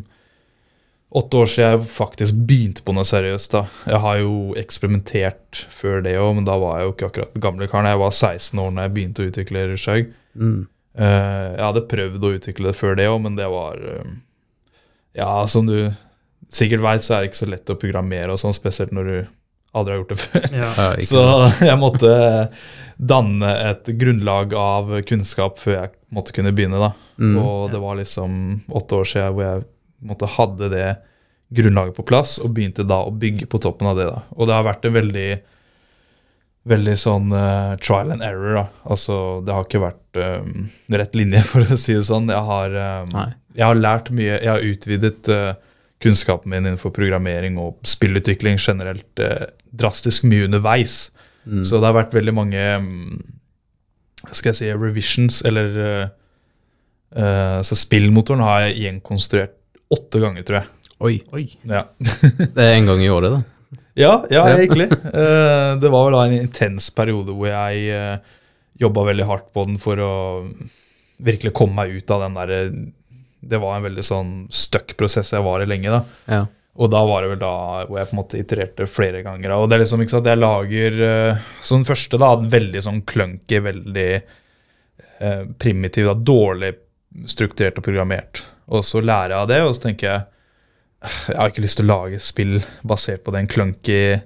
F: åtte år siden jeg faktisk begynte på noe seriøst. da. Jeg har jo eksperimentert før det òg, men da var jeg jo ikke akkurat den gamle karen. Jeg var 16 år når jeg begynte å utvikle Rushhaug.
C: Mm.
F: Eh, jeg hadde prøvd å utvikle det før det òg, men det var eh, Ja, som du sikkert veit, så er det ikke så lett å programmere og sånn, spesielt når du aldri har gjort det før.
B: Ja.
C: Ja, ikke
F: Så
C: sant.
F: jeg måtte danne et grunnlag av kunnskap før jeg måtte kunne begynne. da.
C: Mm.
F: Og det var liksom åtte år siden hvor jeg måtte hadde det grunnlaget på plass, og begynte da å bygge på toppen av det. da. Og det har vært en veldig veldig sånn eh, trial and error. da. Altså, Det har ikke vært eh, rett linje, for å si det sånn. Jeg har, eh,
C: Nei.
F: jeg har lært mye. Jeg har utvidet eh, kunnskapen min innenfor programmering og spillutvikling generelt eh, drastisk mye underveis.
C: Mm.
F: Så det har vært veldig mange mm, skal jeg si, revisions, eller eh, eh, Så spillmotoren har jeg gjenkonstruert åtte ganger, tror jeg.
C: Oi.
B: Oi.
F: Ja.
C: Det er en gang i året, da.
F: Ja, ja,
C: Ja.
F: egentlig. Eh, det var vel da en intens periode hvor jeg uh, jobba veldig hardt på den for å virkelig komme meg ut av den derre Det var en veldig sånn stuck prosess jeg var i lenge, da.
C: Ja.
F: Og da var det vel da hvor jeg på en måte itererte flere ganger. da. Og det er liksom ikke sant, jeg lager eh, Så den første da, en veldig sånn clunky, veldig eh, primitiv, da, dårlig strukturert og programmert. Og så lærer jeg av det, og så tenker jeg jeg har ikke lyst til å lage spill basert på den clunky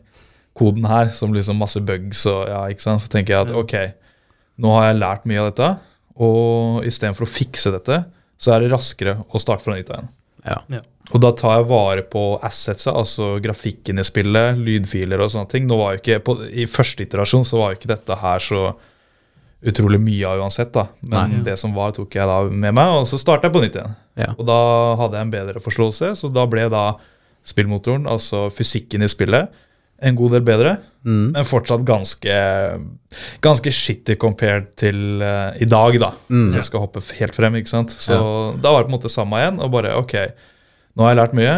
F: koden her, som liksom masse bugs og ja, ikke sant. Så tenker jeg at ok, nå har jeg lært mye av dette, og istedenfor å fikse dette, så er det raskere å starte fra nytt av igjen.
C: Ja.
F: Og da tar jeg vare på assetsa, altså grafikken i spillet, lydfiler og sånne ting. Nå var jo ikke, på, I første iterasjon så var jo ikke dette her så utrolig mye av uansett, da. Men
B: Nei.
F: det som var, tok jeg da med meg, og så starta jeg på nytt igjen.
C: Ja.
F: Og da hadde jeg en bedre forståelse, så da ble da spillmotoren, altså fysikken i spillet, en god del bedre.
C: Mm.
F: Men fortsatt ganske, ganske shitty compared til eh, i dag, da.
C: Mm.
F: Hvis jeg skal hoppe f- helt frem, ikke sant. Så da var det på en måte samme igjen, og bare ok, nå har jeg lært mye,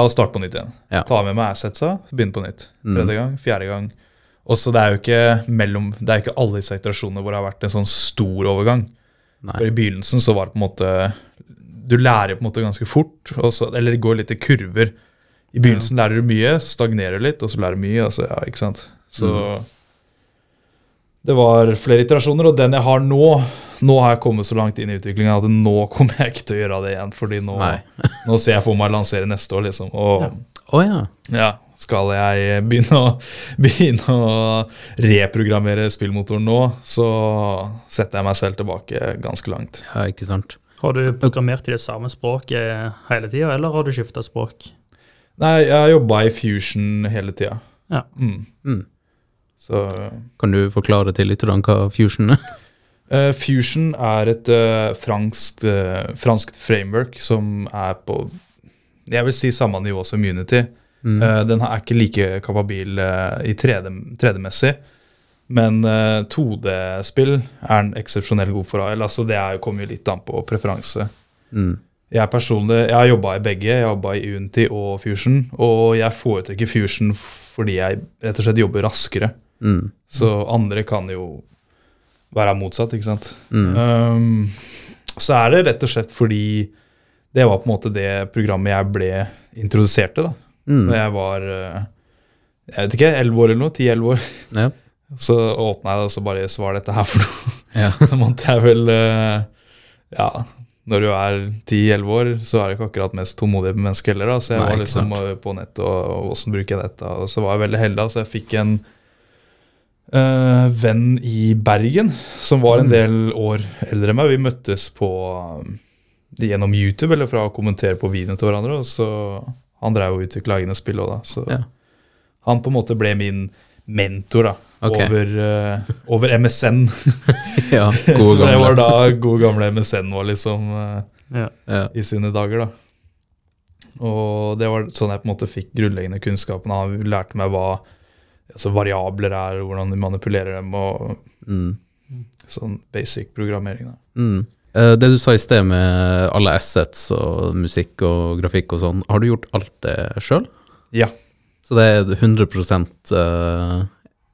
F: la oss starte på nytt igjen.
C: Ja. Mm.
F: Ta med meg assetsa, begynne på nytt. Tredje gang, fjerde gang. Og så det er jo ikke mellom, det er jo ikke alle disse iterasjonene hvor det har vært en sånn stor overgang.
C: Nei.
F: For I begynnelsen så var det på en måte Du lærer på en måte ganske fort, og så, eller det går litt i kurver. I begynnelsen lærer du mye, så stagnerer du litt, og så lærer du mye. Altså, ja, ikke sant? Så det var flere iterasjoner, og den jeg har nå Nå har jeg kommet så langt inn i utviklinga at nå kommer jeg ikke til å gjøre det igjen. Fordi nå,
C: Nei.
F: nå ser jeg for meg å lansere neste år, liksom. Og,
C: Å ja.
F: ja, skal jeg begynne å, begynne å reprogrammere spillmotoren nå, så setter jeg meg selv tilbake ganske langt.
C: ja. Ikke sant.
B: Har du programmert i det samme språket hele tida, eller har du skifta språk?
F: Nei, jeg har jobba i Fusion hele tida.
B: Ja.
F: Mm.
C: Mm.
F: Så
C: Kan du forklare til lytterne hva fusion er?
F: eh, Fusion er et uh, franskt, eh, franskt framework som er på jeg vil si samme nivå som Unity.
C: Mm.
F: Eh, den er ikke like kapabil eh, i 3D 3D-messig. Men eh, 2D-spill er den eksepsjonell god for. Eller, altså, det er- kommer jo litt an på preferanse.
C: Mm.
F: Jeg personlig, jeg har jobba i begge. Jeg har jobba i Unity og Fusion. Og jeg foretrekker Fusion fordi jeg rett og slett jobber raskere.
C: Mm.
F: Så andre kan jo være motsatt, ikke sant.
C: Mm.
F: Um, så er det rett og slett fordi det var på en måte det programmet jeg ble introdusert til da
C: Mm.
F: Når jeg var eh, jeg vet ikke, 11 år eller noe, 10-11 år.
C: Ja.
F: Så åpna jeg det, og så bare Så hva er dette her for noe?
C: Ja.
F: Så måtte jeg vel eh, Ja, når du er 10-11 år, så er du ikke akkurat mest tålmodig menneske heller. Da. Så jeg
C: Nei,
F: var
C: ikke
F: liksom
C: sant.
F: eh, på nettet og, og åssen bruker jeg dette. Og så var jeg veldig heldig, da, så jeg fikk en eh, venn i Bergen som var
C: Mm.
F: en del år eldre enn meg. Vi møttes på eh, gjennom YouTube eller fra å kommentere på videoene til hverandre. Og så han drev og utvikla egne spill òg, da. Så
C: Ja.
F: han på en måte ble min mentor da,
C: Ok.
F: over, eh, over MSN.
C: ja. Gode
F: Så det var
C: gamle.
F: da gode gamle MSN var liksom eh,
B: Ja.
C: Ja.
F: i sine dager, da. Og det var sånn jeg på en måte fikk grunnleggende kunnskapen. Han lærte meg hva altså, variabler er, og hvordan du manipulerer dem, og
C: Mm.
F: sånn basic programmering. da.
C: Mm. Eh, Det du sa i sted med alle assets og musikk og grafikk og sånn, har du gjort alt det sjøl?
F: Ja,
C: Så det er 100 eh,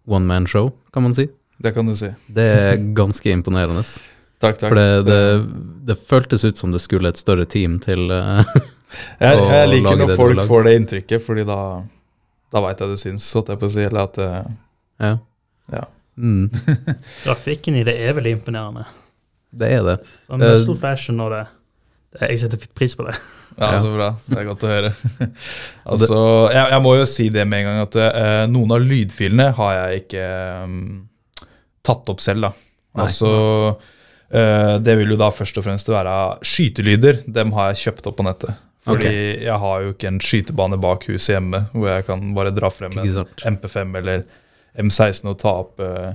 C: one man show, kan man si.
F: det kan du si.
C: Det er ganske imponerende.
F: Takk, takk.
C: For det, det, det føltes ut som det skulle et større team til eh,
F: jeg,
C: å
F: jeg liker
C: lage
F: når
C: det du har
F: folk
C: lagd.
F: får det inntrykket, fordi da, da veit jeg du syns, holdt jeg på å si. Eller at eh,
C: Ja.
F: Ja.
C: Mm,
B: Grafikken i det er veldig imponerende.
C: det er det.
B: Sånn muscle fashion og det. Jeg setter pris på det.
F: Ja,
C: Ja.
F: Så bra. Det er godt å høre. altså, jeg, jeg må jo si det med en gang at eh, noen av lydfilene har jeg ikke mm, tatt opp selv. da.
C: Nei.
F: Altså, eh, Det vil jo da først og fremst være skytelyder. Dem har jeg kjøpt opp på nettet. Fordi jeg har jo ikke en skytebane bak huset hjemme hvor jeg kan bare dra frem
C: Ikke
F: en
C: sant.
F: MP5 eller M16 og ta opp, eh,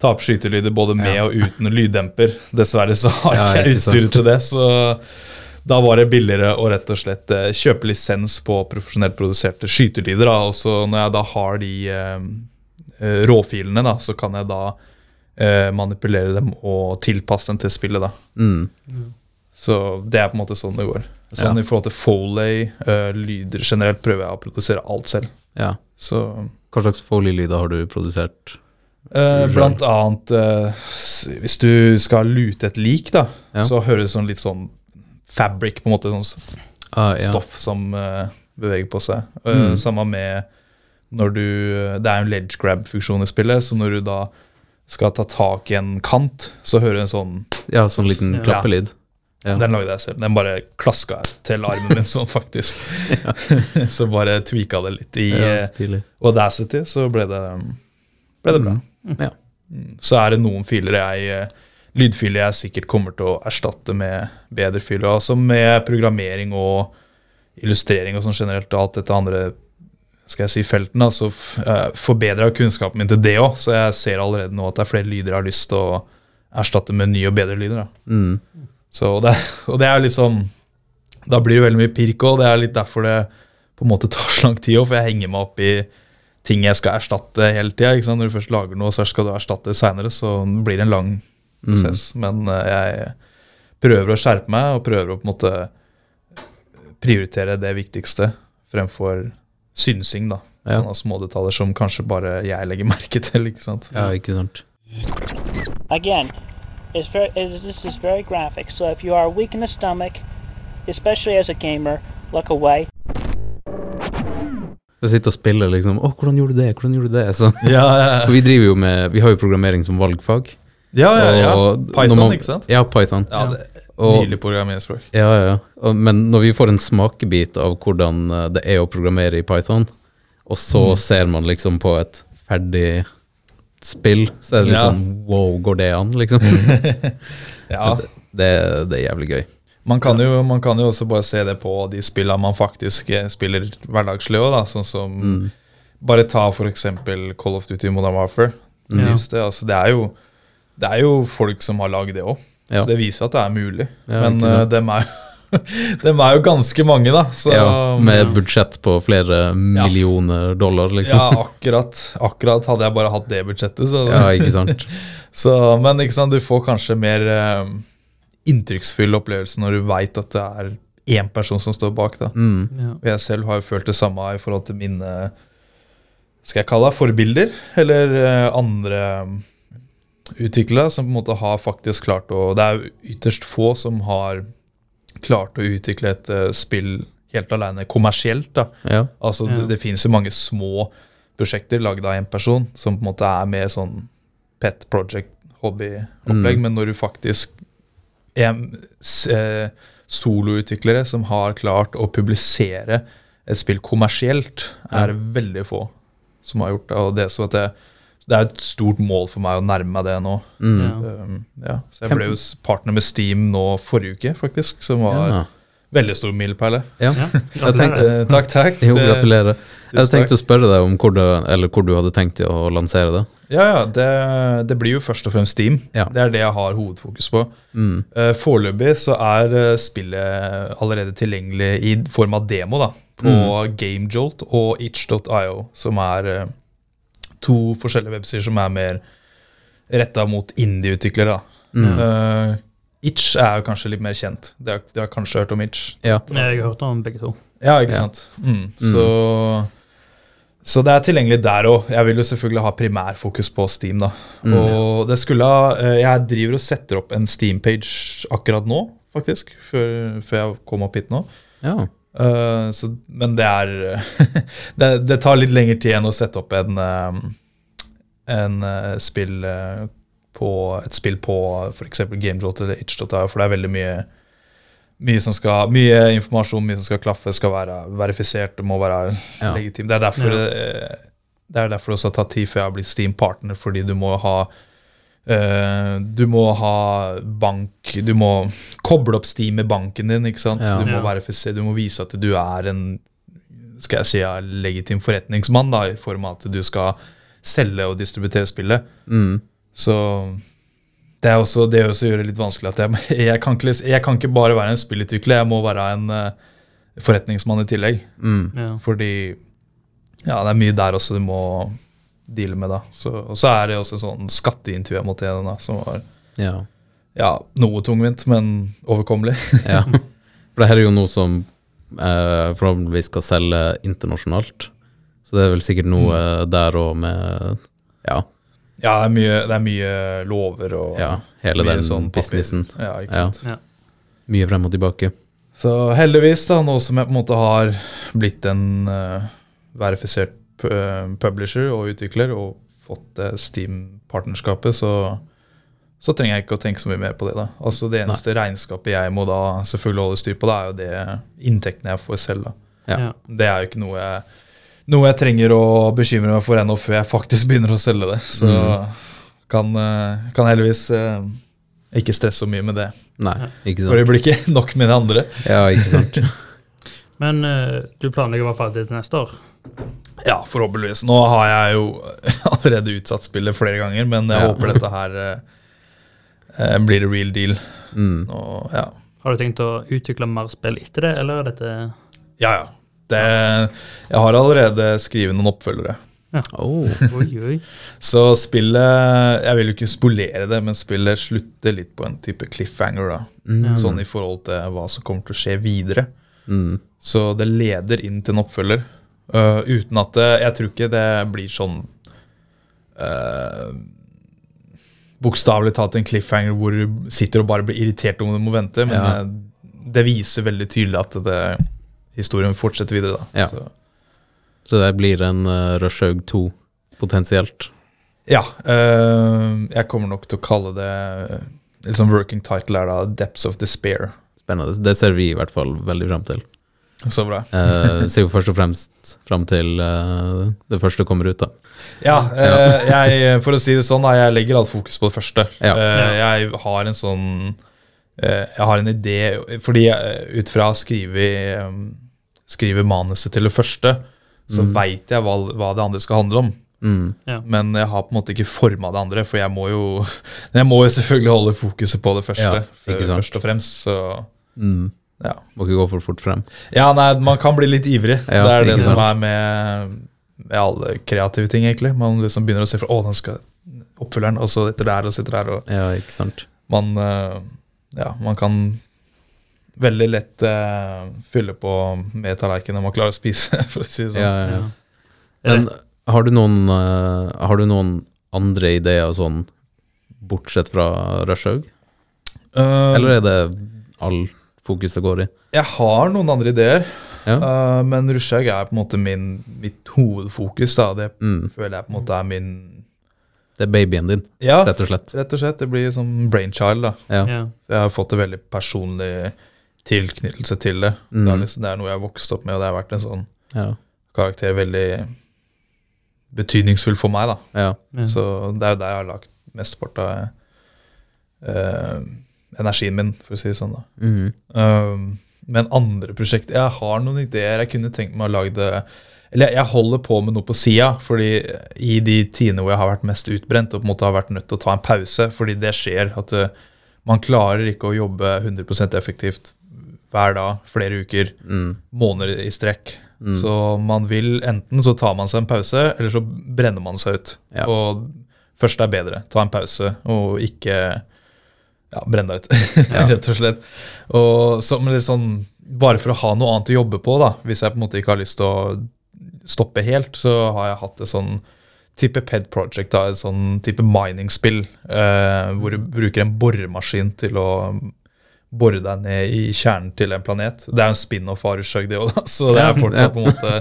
F: ta opp skytelyder både med og uten lyddemper. Dessverre så har
C: Ja,
F: ikke
C: ikke
F: jeg utstyret til det, så da var det billigere å rett og slett eh, kjøpe lisens på profesjonelt produserte skytelyder. Da. Og så når jeg da har de eh, eh, råfilene, da, så kan jeg da eh, manipulere dem og tilpasse dem til spillet. Da.
C: Mm.
F: Så det er på en måte sånn det går. Sånn
C: Ja.
F: I forhold til Foley, eh, lyder generelt, prøver jeg å produsere alt selv.
C: Ja.
F: Så
C: Hva slags Foley-lyder har du produsert?
F: eh,
C: Selv.
F: Blant annet eh, s- Hvis du skal lute et lik, da,
C: Ja.
F: så høres det sånn litt sånn fabric, på en måte. sånn
C: Ah, ja.
F: stoff som eh, beveger på seg. Eh,
C: Mm.
F: Samme med når du Det er jo en ledge grab-funksjon i spillet, så når du da skal ta tak i en kant, så hører du en sånn
C: Ja, sånn liten
B: Ja.
C: klappelyd. Ja.
F: Den lagde jeg selv. Den bare klaska jeg til armen min sånn, faktisk. så bare tweaka det litt. I
C: Ja,
F: eh,
C: stilig.
F: Audacity så ble det, um, ble det bra. Mm.
C: Ja.
F: Så er det noen filer jeg eh, lydfiler jeg sikkert kommer til å erstatte med bedre filer. Altså med programmering og illustrering og sånn generelt, og alt dette andre skal jeg si felten, da, så f- eh, forbedrer jeg kunnskapen min til det òg. Så jeg ser allerede nå at det er flere lyder jeg har lyst til å erstatte med nye og bedre lyder. da.
C: Mm.
F: Så det, og det er jo litt sånn Da blir det veldig mye pirk òg. Det er litt derfor det på en måte tar så lang tid òg, for jeg henger meg opp i ting jeg skal erstatte hele tida. Når du først lager noe, så skal du erstatte det seinere, så det blir en lang
C: Mm.
F: prosess. Men eh, jeg prøver å skjerpe meg, og prøver å på en måte prioritere det viktigste fremfor synsing, da.
C: Ja.
F: Sånne smådetaljer som kanskje bare jeg legger merke til, ikke sant.
C: ja, ikke sant.
G: Again, it's very, it, this is very graphic, so if you are weak in the stomach, especially as a gamer, look away.
C: Jeg sitter og spiller liksom Å, hvordan gjorde du det? Hvordan gjorde du det? Så,
F: Ja, ja,
C: for vi driver jo med Vi har jo programmering som valgfag.
F: ja. ja, ja.
C: og når
F: Python,
C: man-
F: ikke sant?
C: Ja, Python.
F: Ja, det,
C: Og-
F: Nylig programmeringsspråk.
C: Ja, ja, ja. Og- Men når vi får en smakebit av hvordan eh, det er å programmere i Python, og
F: Mm.
C: så ser man liksom på et ferdig spill, så er det litt
F: Ja. Mm.
C: sånn wow, går det an, liksom?
F: Ja,
C: Det, det er jævlig gøy.
F: Man kan, jo, man kan jo også bare se det på de spillene man faktisk eh, spiller hverdagslig òg, da. Sånn som
C: Mm.
F: Bare ta for eksempel Call of Duty Modern Warfare.
B: Ja.
F: Just det, altså, det, er jo, det er jo folk som har lagd det òg,
C: Ja.
F: så det viser at det er mulig.
C: Ja,
F: Men
C: ikke
F: eh,
C: sant.
F: dem, er, dem er jo ganske mange, da. Så um,
C: Ja, med budsjett på flere millioner dollar, liksom.
F: ja, akkurat, akkurat hadde jeg bare hatt det budsjettet, så
C: Ja, ikke sant.
F: så, men ikke sant, du får kanskje mer eh, inntrykksfull opplevelse når du veit at det er én person som står bak. da.
B: Ja.
F: Og jeg selv har jo følt det samme i forhold til mine skal jeg kalle det forbilder, eller eh, andre mm, utviklere som på en måte har faktisk klart å Det er jo ytterst få som har klart å utvikle et eh, spill helt aleine kommersielt. da.
C: Ja.
F: Altså, det, det finnes jo mange små prosjekter lagd av én person, som på en måte er mer sånn pet project hobbyopplegg, men når du faktisk er s- eh, soloutviklere som har klart å publisere et spill kommersielt, er det veldig få som har gjort det. Og det, så at det, så det er et stort mål for meg å nærme meg det nå.
C: Mm.
B: Ja.
F: Um, ja. Så jeg ble jo s- partner med Steam nå forrige uke, faktisk, som var
C: Ja.
F: veldig stor milepæl.
C: ja.
B: Ja.
C: Jeg tenkte,
F: Eh, takk, takk.
C: jo,
F: Det-
C: gratulerer. Jeg
F: Tusen takk.
C: tenkte å spørre deg om hvor du, eller hvor du hadde tenkt å lansere det.
F: Ja, ja. Det, det blir jo først og fremst Steam.
C: Ja.
F: Det er det jeg har hovedfokus på. Mm. Foreløpig så er eh, spillet allerede tilgjengelig i form av demo da, på GameJolt og itch.io, som er eh, to forskjellige websider som er mer retta mot indie-utviklere. da. Eh, itch er jo kanskje litt mer kjent. Dere har, dere har kanskje hørt om Itch?
C: Ja.
B: Jeg har hørt om begge to.
F: Ja, ikke sant. Mm. Så, så det er tilgjengelig der òg. Jeg vil jo selvfølgelig ha primærfokus på Steam. da. Og det skulle ha, eh, Jeg driver og setter opp en Steam-page akkurat nå, faktisk. Før, før jeg kom opp hit nå.
C: ja.
F: Eh, så, men det er det, det tar litt lengre tid enn å sette opp en, eh, en eh, spill eh, på, et spill på f.eks. GameJolt eller itch.io, for det er veldig mye Mye, som skal, mye informasjon, mye som skal klaffe, skal være verifisert. Det må være
C: Ja.
F: legitimt. Det er derfor eh, det er derfor det også har tatt tid før jeg har blitt Steam-partner, fordi du må ha eh, du må ha bank Du må koble opp Steam med banken din. ikke sant?
C: Ja.
F: Du, må
B: Ja.
F: verifisere, du må vise at du er en skal jeg si, ja, legitim forretningsmann, da, i form av at du skal selge og distributere spillet.
C: Mm.
F: Så det er også det også gjør det litt vanskelig at jeg, jeg, kan ikke, liksom, jeg kan ikke bare være en spillutvikler, jeg må være en eh, forretningsmann i tillegg.
C: Mm.
B: Ja.
F: Fordi ja, det er mye der også du må deale med, da. Så, og så er det også sånn skatteintervju jeg måtte gjennom, da, som var
C: Ja.
F: ja, noe tungvint, men overkommelig.
C: ja. For det her er jo noe som eh, forhåpentligvis skal selge internasjonalt. Så det er vel sikkert noe
F: Mm.
C: eh, der òg med Ja,
F: ja, det er mye, det er mye lover og
C: ja hele
F: mye
C: den
F: sånn papir.
C: businessen.
F: Ja, ikke
C: Ja.
F: sant?
C: Mye frem og tilbake.
F: Så heldigvis, da, nå som jeg på en måte har blitt en eh, verifisert pu- eh, publisher og utvikler og fått det Steam-partnerskapet, så, så trenger jeg ikke å tenke så mye mer på det. da. Altså Det eneste regnskapet jeg må da selvfølgelig holde styr på, det er jo det inntektene jeg får selv. da.
C: Ja.
B: Ja.
F: Det er jo ikke noe jeg, noe jeg trenger å bekymre meg for ennå før jeg faktisk begynner å selge det. Så kan, eh, kan heldigvis eh, ikke stresse så mye med det.
C: Nei, ikke
F: For
C: sant.
F: øyeblikket nok med det andre.
C: Ja, ikke sant.
B: Men eh, du planlegger i hvert fall det til neste år?
F: Ja, forhåpentligvis. Nå har jeg jo allerede utsatt spillet flere ganger, men jeg
C: Ja.
F: håper dette her eh, eh, blir a real deal.
C: Mm.
F: Og, ja.
B: Har du tenkt å utvikle mer spill etter det, eller er dette
F: ja, ja. Det, jeg har allerede skrevet noen oppfølgere.
C: Oh.
B: Oi, oi.
F: Så spillet Jeg vil jo ikke spolere det, men spillet slutter litt på en type cliffhanger. da.
C: Mm.
F: Sånn i forhold til hva som kommer til å skje videre.
C: Mm.
F: Så det leder inn til en oppfølger. øh, uten at det, Jeg tror ikke det blir sånn øh, Bokstavelig talt en cliffhanger hvor du sitter og bare blir irritert om du må vente. Men
C: Ja.
F: øh, det viser veldig tydelig at det, historien fortsetter videre. Da.
C: Ja.
F: Så,
C: Så det blir en uh, Rushhaug 2, potensielt.
F: ja øh, jeg kommer nok til å kalle det liksom Working title er da Depths of Despair.
C: Spennende. Det ser vi i hvert fall veldig frem til.
F: Så bra.
C: Eh, ser jo først og fremst frem til eh, det første kommer ut, da.
F: Ja, eh, jeg, for å si det sånn, da, jeg legger alt fokus på det første.
C: Ja.
F: Eh, jeg har en sånn eh, Jeg har en idé Fordi jeg, ut fra å skrive, em, skrive manuset til det første, så vet veit jeg hva, hva det andre skal handle om.
C: Mm.
F: Men jeg har på en måte ikke forma det andre, for jeg må jo Jeg må jo selvfølgelig holde fokuset på det første,
C: Ja,
F: før-
C: ikke sant.
F: først og fremst. Så
C: Mm.
F: ja.
C: Må ikke gå for fort frem.
F: ja, nei, man kan bli litt ivrig.
C: Ja,
F: det er det
C: ikke
F: som
C: sant.
F: er med, med alle kreative ting, egentlig. Man liksom begynner å se for Å, den skal oppfølgeren, og så etter der og så etter der. Og
C: Ja, ikke sant.
F: man, eh, ja, man kan veldig lett eh, fylle på med tallerkenen man klarer å spise, for å si det sånn.
C: Ja, ja, ja.
B: Er
C: Men har du noen, eh, har du noen andre ideer sånn, bortsett fra Rushhaug?
F: Eh,
C: Eller er det all fokus det går i?
F: jeg har noen andre ideer,
C: Ja.
F: eh, men Rushaug er på en måte min, mitt hovedfokus. Da. Det
C: Mm.
F: føler jeg på en måte er min
C: Det er babyen din,
F: Ja,
C: rett og slett.
F: rett og slett. Det blir som brainchild, da.
C: Ja.
B: Ja.
F: Jeg har fått en veldig personlig tilknyttelse til det. Det, er
C: Mm.
F: liksom, det er noe jeg har vokst opp med, og det har vært en sånn
C: Ja.
F: karakter veldig betydningsfull for meg. da.
C: ja.
B: Ja.
F: Så det er jo der jeg har lagt mesteparten av eh, energien min, for å si det sånn. da.
C: Mm.
F: Um, men andre prosjekter Jeg har noen ideer. Jeg kunne tenkt meg å lage det Eller jeg holder på med noe på sida, fordi i de tidene hvor jeg har vært mest utbrent og på en måte har vært nødt til å ta en pause, fordi det skjer at uh, man klarer ikke å jobbe 100 effektivt hver dag, flere uker,
C: Mm.
F: måneder i strekk. Så man vil enten så tar man seg en pause, eller så brenner man seg ut.
C: Ja.
F: Og først er bedre. Ta en pause og ikke ja, brenne deg ut, rett og slett. Og så, men litt sånn, bare for å ha noe annet å jobbe på, da, hvis jeg på en måte ikke har lyst til å stoppe helt, så har jeg hatt et sånn type Ped Project, da, et sånn type mining-spill, eh, hvor du bruker en boremaskin til å bore deg ned i kjernen til en planet. Det er jo en spin-off av Rushug, det òg, da, så det
C: Ja,
F: er
C: ja.
F: fortsatt på en måte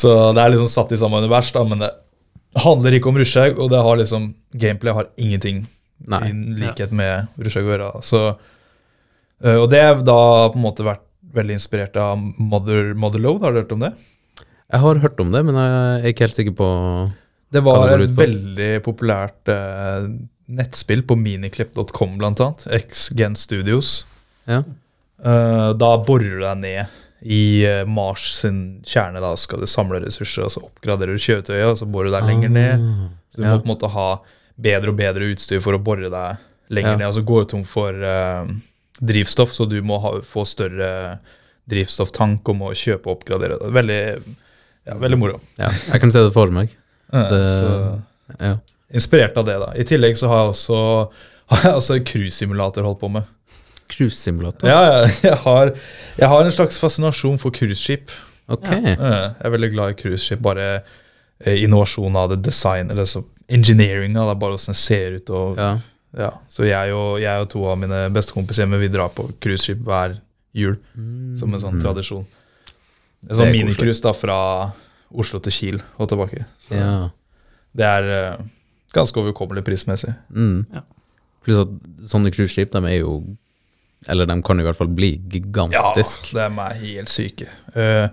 F: Så det er liksom satt i samme univers, da, men det handler ikke om Rushug, og det har liksom Gameplay har ingenting
C: Nei.
F: i likhet med Rushug å gjøre. da. Så Eh, og det har da på en måte vært veldig inspirert av Mother, Motherload, har du hørt om det?
C: Jeg har hørt om det, men jeg er ikke helt sikker på
F: Det
C: Hva
F: var
C: det går
F: et
C: ut på?
F: veldig populært eh, nettspill på miniclip.com blant annet, X-Gen Studios.
C: Ja.
F: Eh, da borer du deg ned i eh, Mars sin kjerne, da skal du samle ressurser, og så oppgraderer du kjøretøyet, og så borer du deg lenger ned. Så du
C: Ah, ja.
F: må på en måte ha bedre og bedre utstyr for å bore deg lenger
C: Ja.
F: ned, og så går du tom for eh, drivstoff, så du må ha, få større drivstofftank og må kjøpe og oppgradere. Veldig, ja, veldig moro.
C: ja. Jeg kan se det for meg.
F: Eh,
C: Det-
F: så
C: Ja.
F: inspirert av det, da. I tillegg så har jeg også har jeg også cruisesimulator holdt på med.
C: Cruisesimulator.
F: Ja, ja, jeg, har, jeg har en slags fascinasjon for cruiseskip.
C: Ok.
F: Eh, Jeg er veldig glad i cruiseskip. Bare eh, innovasjon av det, design eller så engineeringa, da, bare åssen det ser ut og ja.
C: Ja.
F: Så jeg og, jeg og to av mine bestekompiser hjemme, vi drar på cruiseskip hver jul, som en sånn tradisjon.
C: Mm. Det
F: En sånn
C: er koselig.
F: minicruise da, fra Oslo til Kiel og tilbake. Så
C: ja.
F: det er eh, ganske overkommelig prismessig.
C: Mm.
B: Ja.
C: Pluss at sånne cruiseskip, de er jo Eller de kan i hvert fall bli gigantisk.
F: Ja, de er helt syke. Uh,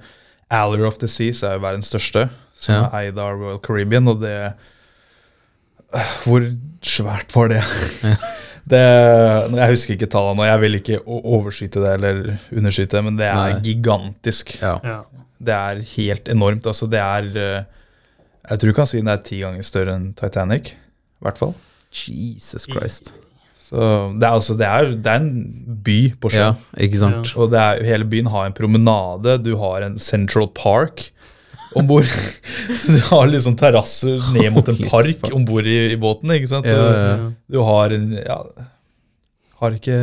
F: Aller of the Seas er jo verdens største, som
C: Ja.
F: er eid av Royal Caribbean, og det Øh, Hvor svært var det? det jeg husker ikke tallene, og jeg vil ikke o- overskyte det eller underskyte det, men det er
C: Nei.
F: gigantisk.
C: Ja.
B: Ja.
F: Det er helt enormt. Altså, det er øh, Jeg tror du kan si det er ti ganger større enn Titanic, i hvert fall.
C: Jesus Christ.
F: Så det er altså Det er, det er en by på
C: Ja,
F: sjøen.
C: ikke sant?
F: Og det er, hele byen har en promenade, du har en Central Park om bord. Så du har liksom terrasser ned mot en
C: Holy
F: park
C: fuck.
F: om bord i, i båten, ikke sant?
C: Ja, ja,
F: Og Du har en ja, Har ikke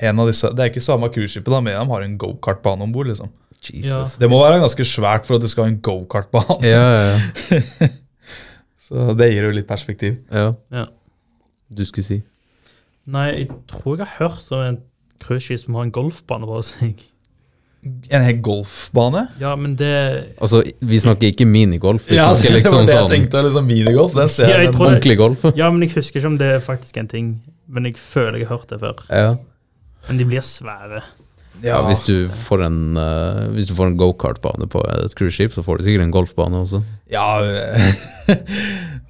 F: en av disse Det er ikke samme cruiseskipet, da, men de har en gokartbane om bord, liksom.
C: Jesus.
F: Det må være ganske svært for at du skal ha en gokartbane.
C: Ja, ja, ja.
F: Så det gir jo litt perspektiv.
C: ja.
B: Ja.
C: Du skulle si.
B: Nei, jeg tror jeg har hørt om en cruiseskip som har en golfbane på seg.
F: En hel golfbane?
B: Ja, men det
C: Altså, vi snakker ikke minigolf, vi
F: Ja, det
C: snakker
F: var
C: liksom
F: det jeg
C: sånn
F: tenkte. liksom Minigolf. Den ser
B: Ja, jeg
F: men-
B: tror det-
C: ordentlig golf.
B: Ja, men jeg husker ikke om det er faktisk en ting. Men jeg føler jeg har hørt det før.
C: Ja.
B: Men de blir svære.
C: Ja, hvis du får en, eh, hvis du får en gokartbane på et cruiseskip, så får du sikkert en golfbane også.
F: Ja Hvis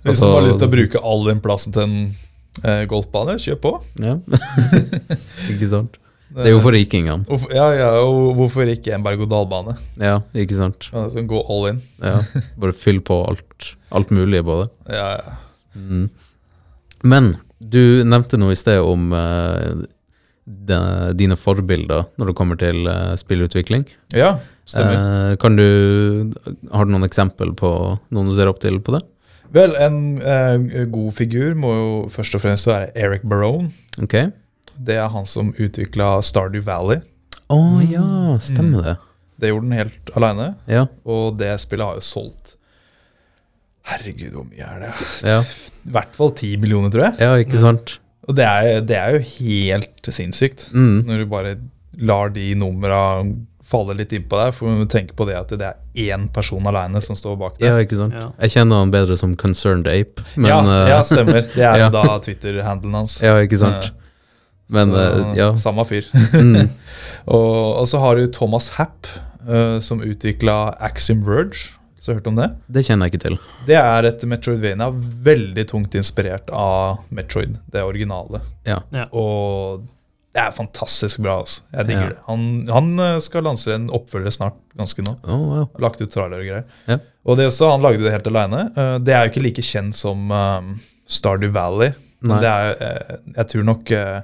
C: Altså-
F: du har lyst til å bruke all den plassen til en eh, golfbane, kjør på.
C: Ja. ikke sant? Det er jo for rikingene.
F: Hvorfor, ja, ja, og hvorfor ikke en berg-og-dal-bane?
C: Ja, ikke sant?
F: Ja, du kan Gå all in.
C: Ja. Bare fyll på alt, alt mulig på det.
F: Ja, ja.
C: Men du nevnte noe i sted om eh, de, dine forbilder når det kommer til eh, spillutvikling.
F: ja stemmer.
C: Eh, kan du, har du noen eksempel på noen du ser opp til på det?
F: Vel, en eh, god figur må jo først og fremst være Eric Barone.
C: Ok.
F: Det er han som utvikla Stardew Valley.
C: Å ja, stemmer det.
F: Det gjorde han helt aleine,
C: Ja,
F: og det spillet har jo solgt Herregud, hvor mye er det?
C: ja,
F: I hvert fall ti millioner, tror jeg.
C: ja ikke sant?
F: Og det er, det er jo helt sinnssykt.
C: Mm.
F: Når du bare lar de numra falle litt innpå deg, for du tenker på det at det er én person aleine som står bak
C: Ja,
F: deg.
C: ikke sant?
B: Ja.
C: Jeg kjenner han bedre som Concerned Ape, men
F: ja,
C: eh,
F: ja, stemmer. Det er
C: ja.
F: jo da Twitter-handelen hans.
C: ja, ikke sant?
F: Ja.
C: Men
F: Så,
C: eh, ja. Mm.
F: Samme fyr. og, og så har du Thomas Happ, eh, som utvikla Axiom Verge. Så hørt om det?
C: Det kjenner jeg ikke til.
F: Det er et Metroidvania veldig tungt inspirert av Metroid, det originale.
C: Ja.
B: Ja.
F: Og det er fantastisk bra, altså. Jeg digger
C: Ja.
F: det. Han, han eh, skal lansere en oppfølger snart, ganske nå.
C: Å, wow.
F: Lagt ut trailer og greier.
C: Ja.
F: Og det også, han lagde det helt alene. Eh, Det er jo ikke like kjent som eh, Stardew Valley.
C: Nei.
F: Men det er, eh, jeg tror nok eh,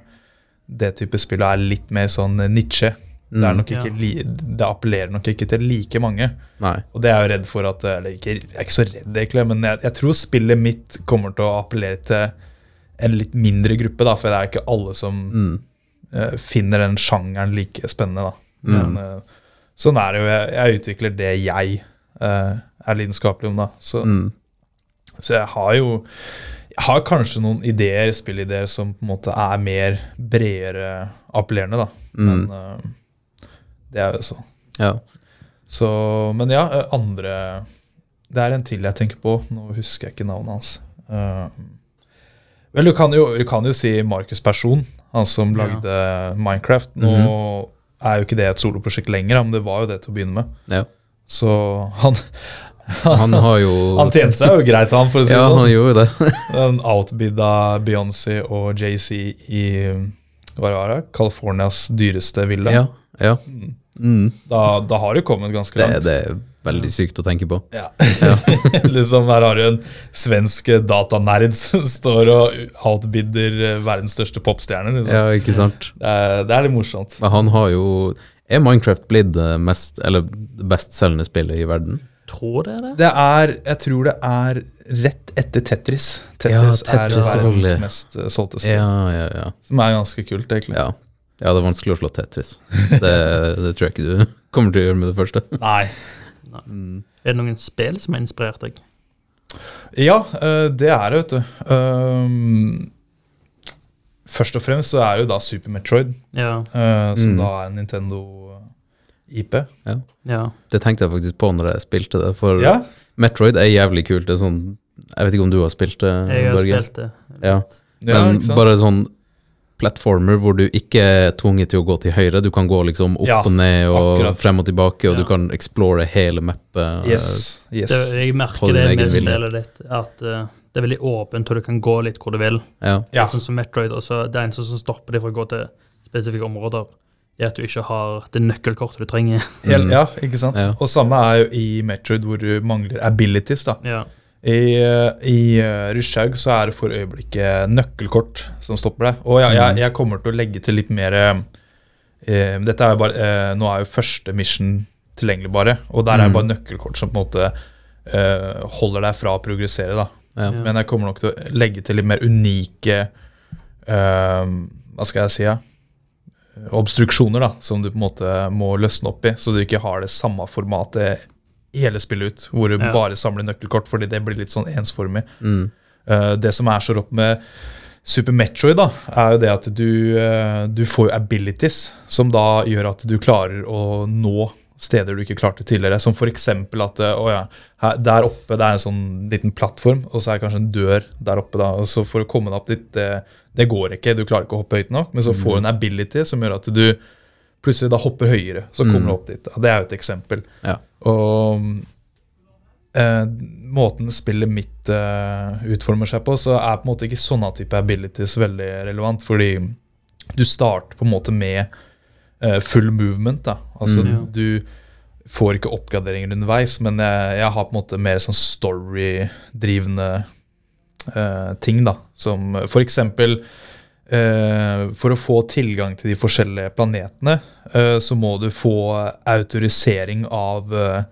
F: det type spill er litt mer sånn eh, niche. Det,
C: Mm.
F: er nok ikke
B: Ja.
F: li, det appellerer nok ikke til like mange.
C: Nei.
F: Og det er jeg jo redd for at Eller ikke, jeg er ikke så redd, egentlig, men jeg, jeg tror spillet mitt kommer til å appellere til en litt mindre gruppe, da, for det er ikke alle som eh, finner den sjangeren like spennende, da. Men eh, sånn er det jo. Jeg, jeg utvikler det jeg eh, er lidenskapelig om, da. Så,
C: Mm.
F: så jeg har jo jeg har kanskje noen ideer, spillideer, som på en måte er mer bredere appellerende, da. Men eh, det er jo sånn.
C: Ja.
F: Så, men ja, eh, andre Det er en til jeg tenker på. Nå husker jeg ikke navnet hans. Eh, Vel, du kan jo, du kan jo si Markus Person, han som lagde Minecraft. Nå
C: Mhm.
F: er jo ikke det et soloprosjekt lenger, da, men det var jo det til å begynne med.
C: Ja.
F: Så han,
C: Han har jo
F: han tjente seg jo greit, han, for å si det
C: Ja, han
F: sånn.
C: gjorde det.
F: Han outbidda Beyoncé og JC i hva var det, Californias dyreste ville.
C: ja, ja. Mm.
F: Da, da har du kommet ganske
C: Det,
F: langt.
C: det er veldig sykt å tenke på.
F: Ja. liksom Her har du en svensk datanerd som står og outbidder eh, verdens største popstjerner. Liksom.
C: Ja, ikke sant?
F: Det, er, det er litt morsomt.
C: Men han har jo Er Minecraft blitt det mest, eller det bestselgende spillet i verden?
B: Tror det det?
F: Det er, jeg tror det er rett etter Tetris.
C: Ja,
F: Tetris, er
C: Tetris,
F: verdens
C: selvfølgelig.
F: mest eh, solgte spill,
C: Ja, ja, ja.
F: som er ganske kult, egentlig.
C: Ja, ja det er vanskelig å slå Tetris. Det, det tror jeg ikke du kommer til å gjøre med det første.
F: Nei.
B: Er det noen spill som har inspirert deg?
F: Ja, eh, det er det, vet du. Um, først og fremst så er det jo da Super Metroid,
B: Ja.
F: eh, som
C: Mm.
F: da er en eh, Nintendo-IP.
B: ja.
C: Det tenkte jeg faktisk på når jeg spilte det, for
F: Ja,
C: Metroid er jævlig kult. Det er sånn Jeg vet ikke om du har spilt det,
B: Jeg har
C: Børge?
B: spilt det.
C: Ja.
F: ja
C: Men
F: ikke sant?
C: bare sånn platformer hvor du ikke er tvunget til å gå til høyre. Du kan gå liksom opp
F: Ja,
C: og ned og
F: akkurat.
C: frem og tilbake, og
B: Ja.
C: du kan explore hele mappet.
F: Yes, yes.
B: det jeg
C: På
B: merker
C: din
B: det
C: egen
B: med
C: vilje.
B: spillet ditt, at eh, det er veldig åpent, og du kan gå litt hvor du vil.
C: Ja.
F: Ja.
B: Sånn som Metroid, og så det eneste som stopper deg fra å gå til spesifikke områder, er at du ikke har det nøkkelkortet du trenger.
F: Hel, ja, ikke sant?
C: Ja.
F: Og samme er jo i Metroid, hvor du mangler abilities. da.
B: Ja.
F: I, eh, i eh, Rushhaug så er det for øyeblikket nøkkelkort som stopper deg. Og jeg, jeg, jeg kommer til å legge til litt mer eh, eh, Dette er jo bare, eh, Nå er jo første mission tilgjengelig, bare. Og der
C: Mm.
F: er det bare nøkkelkort som på en måte eh, holder deg fra å progressere. da.
C: Ja.
F: Men jeg kommer nok til å legge til litt mer unike eh, Hva skal jeg si? Ja? Obstruksjoner da, som du på en måte må løsne opp i, så du ikke har det samme formatet i hele spillet ut, hvor du
B: Ja.
F: bare samler nøkkelkort, fordi det blir litt sånn ensformig.
C: Mm.
F: Eh, det som er så rått med Super Metroid, da, er jo det at du, eh, du får jo abilities, som da gjør at du klarer å nå steder du ikke klarte tidligere. Som f.eks. at eh, å ja, her, der oppe det er en sånn liten plattform, og så er det kanskje en dør der oppe. da, og så For å komme deg opp dit, det, det går ikke, du klarer ikke å hoppe høyt nok, men så får du en ability som gjør at du plutselig da hopper høyere, så kommer du opp dit. da. Det er jo et eksempel.
C: Ja.
F: Og mm, eh, måten spillet mitt eh, utformer seg på, så er på en måte ikke sånne type abilities veldig relevant, fordi du starter på en måte med eh, full movement. da. Altså
B: Mm.
F: du får ikke oppgraderinger underveis, men jeg, jeg har på en måte mer sånn story-drivende eh, ting, da. Som for eksempel eh, For å få tilgang til de forskjellige planetene, eh, så må du få autorisering av eh,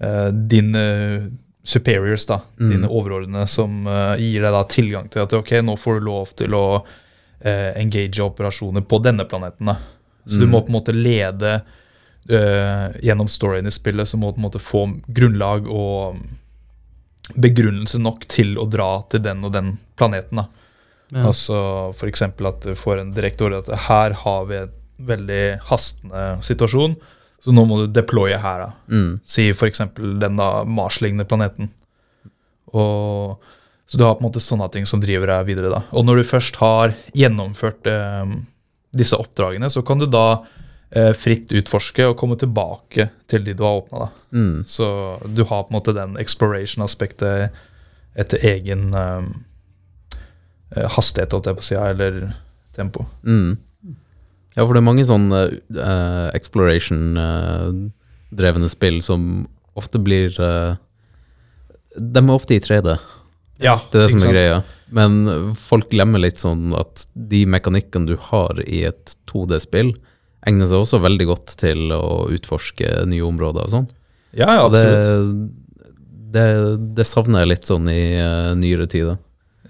F: eh, dine superiors, da. Dine overordnede, som eh, gir deg da tilgang til at ok, nå får du lov til å eh, engage operasjoner på denne planeten. da. Så du må på en måte lede eh, gjennom storyen i spillet, så må du på en måte få grunnlag og mm, begrunnelse nok til å dra til den og den planeten. da.
B: Ja.
F: Altså F.eks. at du får en direkte ordre at her har vi en veldig hastende situasjon, så nå må du deploye her. da.
C: Mm.
F: Si f.eks. den da Mars-lignende planeten. Og, så du har på en måte sånne ting som driver deg videre. da. Og når du først har gjennomført eh, disse oppdragene, så kan du da eh, fritt utforske og komme tilbake til de du har åpna.
C: Mm.
F: Så du har på en måte den exploration-aspektet etter egen ehm, eh, hastighet, holdt jeg på å si, ja, eller tempo.
C: Mm. Ja, for det er mange sånne eh, exploration-drevne spill som ofte blir eh, De er ofte i 3D,
F: Ja,
C: det er det som
F: ikke
C: er
F: sant?
C: greia. Men folk glemmer litt sånn at de mekanikkene du har i et 2D-spill, egner seg også veldig godt til å utforske nye områder og sånn.
F: Ja, ja,
C: Og det,
F: absolutt.
C: det, det savner jeg litt sånn i eh, nyere tider.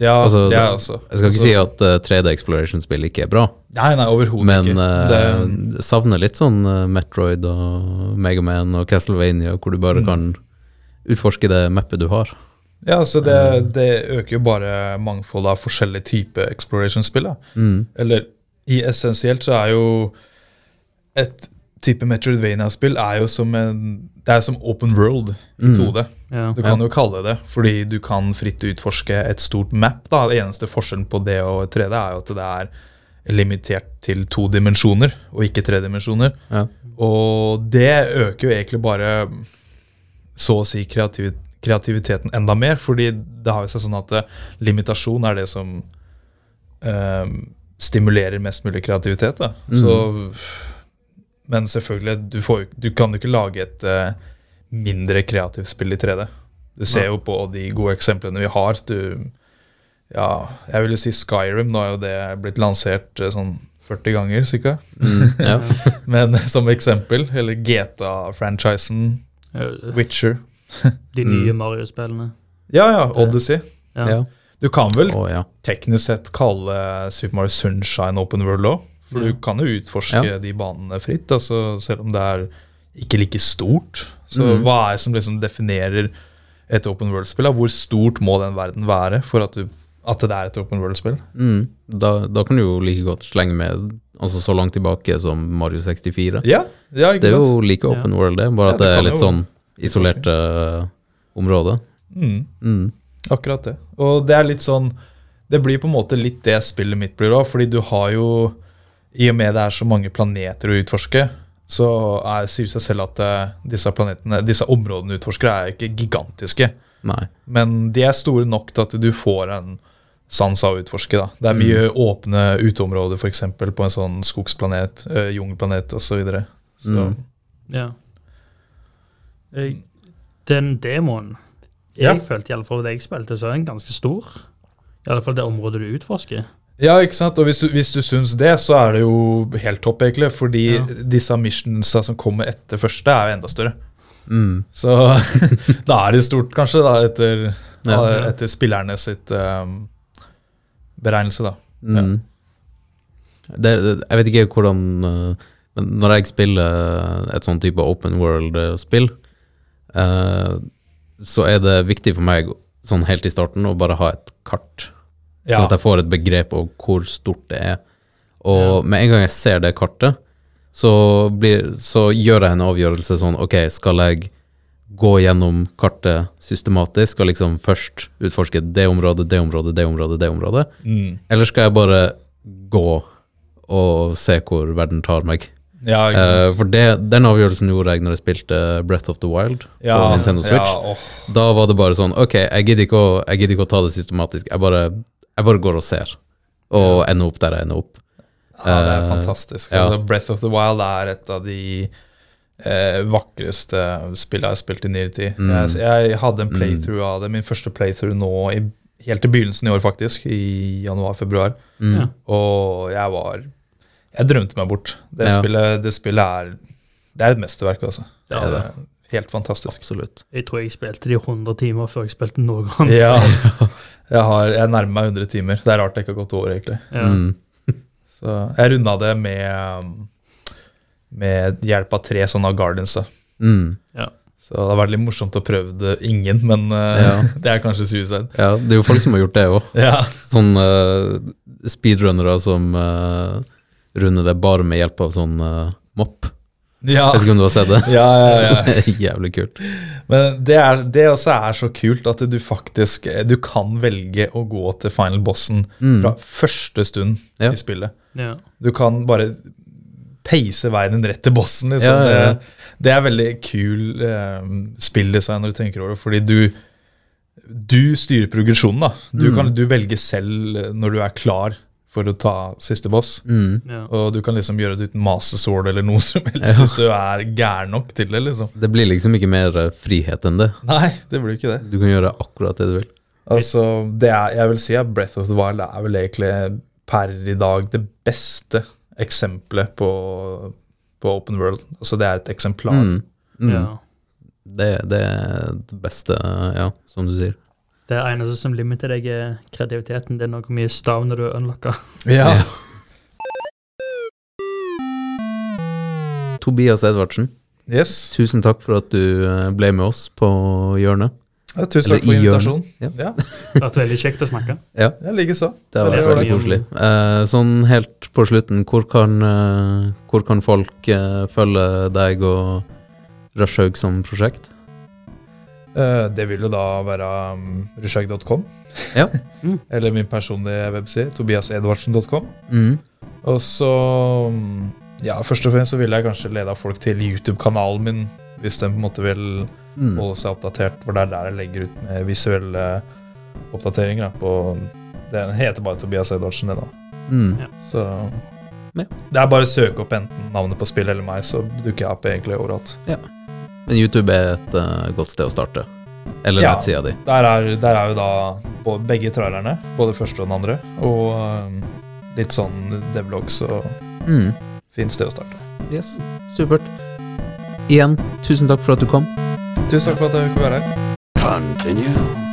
F: ja,
C: altså,
F: det er
C: det-
F: også.
C: Jeg skal ikke
F: Altså,
C: si at eh, 3D Exploration-spill ikke er bra,
F: Nei, nei, overhodet
C: men
F: ikke.
C: eh,
F: Det,
C: savner litt sånn eh, Metroid og Megaman og Castlevania, hvor du
F: Mm.
C: bare kan utforske det mappet du har.
F: Ja, så det, det øker jo bare mangfoldet av forskjellige typer exploration-spill. da. Eller i essensielt så er jo et type Metroidvania-spill er jo som en Det er som open world i 2D.
B: Ja.
F: Du kan jo kalle det fordi du kan fritt utforske et stort map. da. Det eneste forskjellen på det og 3D er jo at det er limitert til to dimensjoner, og ikke tre dimensjoner.
C: Ja.
F: Og det øker jo egentlig bare så å si kreativ kreativiteten enda mer, fordi det har jo seg sånn at eh, limitasjon er det som eh, stimulerer mest mulig kreativitet. Da. Så, men selvfølgelig, du, får, jo- du kan jo ikke lage et eh, mindre kreativt spill i 3D. Du ser jo på de gode eksemplene vi har. Du, ja, jeg vil jo si Skyrim. Nå er jo det blitt lansert eh, sånn 40 ganger, cirka.
C: Mm, Ja.
F: Men som eksempel, eller GTA-franchisen, Witcher.
B: De
F: Mm.
B: nye Mario-spillene.
F: Ja, ja, Odyssey.
B: Ja.
C: Ja.
F: Du kan vel
C: Å, ja.
F: teknisk sett kalle Super Mario Sunshine Open World òg. For du kan jo utforske
C: Ja.
F: de banene fritt, altså, selv om det er ikke like stort. Så hva er det som liksom definerer et Open World-spill? da? Hvor stort må den verden være for at, du, at det er et Open World-spill?
C: Mm. Da, da kan du jo like godt slenge med altså så langt tilbake som Mario 64.
F: Ja, ja, ikke
C: Det er
F: sant?
C: jo like open world, det, bare
F: Ja,
C: at
F: det
C: det er
F: kan
C: litt
F: jo-
C: sånn isolerte eh, områder.
F: Mm.
C: Mm.
F: Akkurat det. Og det er litt sånn Det blir på en måte litt det spillet mitt blir òg, fordi du har jo I og med det er så mange planeter å utforske, så er, sier det seg selv at eh, disse planetene, disse områdene du utforsker, er ikke gigantiske.
C: Nei.
F: Men de er store nok til at du får en sans av å utforske. da. Det er mye åpne uteområder, f.eks. på en sånn skogsplanet, eh, jungelplanet osv. Så videre. så,
B: Ja. Eh, Den demoen
F: Ja.
B: jeg følte, i alle fall det jeg spilte, så er den ganske stor. I alle fall det området du utforsker.
F: Ja, ikke sant? Og hvis du, hvis du syns det, så er det jo helt topp, egentlig. Fordi disse missionsa som kommer etter første, er jo enda større.
C: Mm.
F: Så da er det stort, kanskje, da, etter,
C: Ja,
F: eh, etter spillerne sitt ehm, beregnelse, da.
C: Mm. Det, det- jeg vet ikke hvordan eh, Men når jeg spiller et sånn type open world-spill, eh, så er det viktig for meg sånn helt i starten å bare ha et kart.
F: Ja.
C: Sånn at jeg får et begrep om hvor stort det er. Og med en gang jeg ser det kartet, så, blir, så gjør jeg en avgjørelse sånn Ok, skal jeg gå gjennom kartet systematisk og liksom først utforske det området, det området, det området, det området?
F: Mm.
C: Eller skal jeg bare gå og se hvor verden tar meg?
F: ja, ikke
C: Eh,
F: sant?
C: for det, den avgjørelsen gjorde jeg når jeg spilte Breath of the Wild
F: ja,
C: på Nintendo Switch.
F: Ja, åh,
C: Da var det bare sånn Ok, jeg gidder ikke å, jeg gidder ikke å ta det systematisk. Jeg bare, jeg bare går og ser, og ender opp der jeg ender opp.
F: ja, det er fantastisk.
C: Eh, ja.
F: Altså, Breath of the Wild er et av de eh, vakreste spillene jeg har spilt i nyere tid.
C: Mm.
F: Jeg, jeg hadde en playthrough av det, min første playthrough nå i, helt i begynnelsen i år, faktisk. I januar-februar.
B: Ja.
F: Og jeg var Jeg drømte meg bort. Det,
C: Ja.
F: spillet, det spillet er Det er et mesterverk, altså. Det
C: er det.
F: er Helt fantastisk.
C: Absolutt.
B: Jeg tror jeg spilte de 100 timer før jeg spilte noe annet.
F: Ja. Jeg, har, jeg nærmer meg 100 timer. Det er rart det ikke har gått over, egentlig.
B: Ja.
C: Mm.
F: Så jeg runda det med Med hjelp av tre sånne Guardians. da.
C: Mm.
F: Så det har vært litt morsomt å prøve det ingen, men eh,
C: Ja.
F: det er kanskje suicide.
C: Ja, det er jo folk som har gjort det òg.
F: Ja.
C: Sånn eh, speedrunnere som eh, runder det bare med hjelp av sånn eh, mopp.
F: Ja.
C: Vet ikke om du har sett det?
F: Ja, ja, ja.
C: Jævlig kult.
F: Men det, er, det også er så kult at du faktisk eh, Du kan velge å gå til final bossen fra første stund
C: Mm. Ja.
F: i spillet.
B: Ja.
F: Du kan bare peise veien rett til bossen. Liksom.
C: Ja, ja, ja.
F: Det, det er veldig kul eh, spilldesign når du tenker over det, fordi du du styrer progresjonen. da. Du,
C: Mm.
F: kan, du velger selv eh, når du er klar for å ta siste boss.
C: Mm.
B: Ja.
F: Og du kan liksom gjøre det uten masesword eller noe som helst hvis du er gæren nok til det. liksom.
C: Det blir liksom ikke mer eh, frihet enn det.
F: Nei, det blir ikke det.
C: Du kan gjøre akkurat det du vil.
F: Altså, det er, jeg vil si at Breath of the Wild er vel egentlig per i dag det beste eksempelet på, på Open World. Altså, det er et eksemplar.
C: Mm.
F: mm.
B: ja.
C: Det, det er det beste, eh, ja, som du sier.
B: Det eneste som limiter deg, er kreativiteten. Det er noe mye stavn når du unlocker.
F: Ja.
C: Tobias Edvardsen,
F: Yes.
C: tusen takk for at du eh, ble med oss på hjørnet.
F: Ja, tusen
C: Eller
F: takk for
C: i hjørnet.
F: invitasjonen.
C: Ja.
F: Ja,
B: Det har vært veldig kjekt å snakke.
C: Ja,
F: jeg likeså.
C: det var
B: Veldig
C: veldig
B: ålreit.
C: koselig. Eh, sånn helt på slutten, hvor kan, eh, hvor kan folk eh, følge deg og Rushhaug som prosjekt?
F: Eh, Det vil jo da være um, rushhaug.com.
C: Ja.
B: Mm.
F: Eller min personlige webside, tobiasedvardsen.com.
C: Mm.
F: Og så mm, Ja, først og fremst så ville jeg kanskje leda folk til YouTube-kanalen min, hvis de på en måte vil
C: Mm.
F: holde seg oppdatert, for det er der jeg legger ut med visuelle oppdateringer. Da, på, den heter bare Tobias Edvardsen, det, da.
C: Mm.
F: Så
C: Ja.
F: Det er bare å søke opp enten navnet på spillet eller meg, så dukker jeg opp egentlig overalt.
C: Men YouTube er et eh, godt sted å starte. Eller
F: Ja.
C: nettsida di.
F: Der er, der er jo da både, begge trailerne, både første og den andre, og øhm, litt sånn devlogs og
C: Mm.
F: fint sted å starte.
C: Yes, supert. Igjen, tusen takk for at du kom.
F: Tusen takk for at jeg fikk være her.
A: Continue.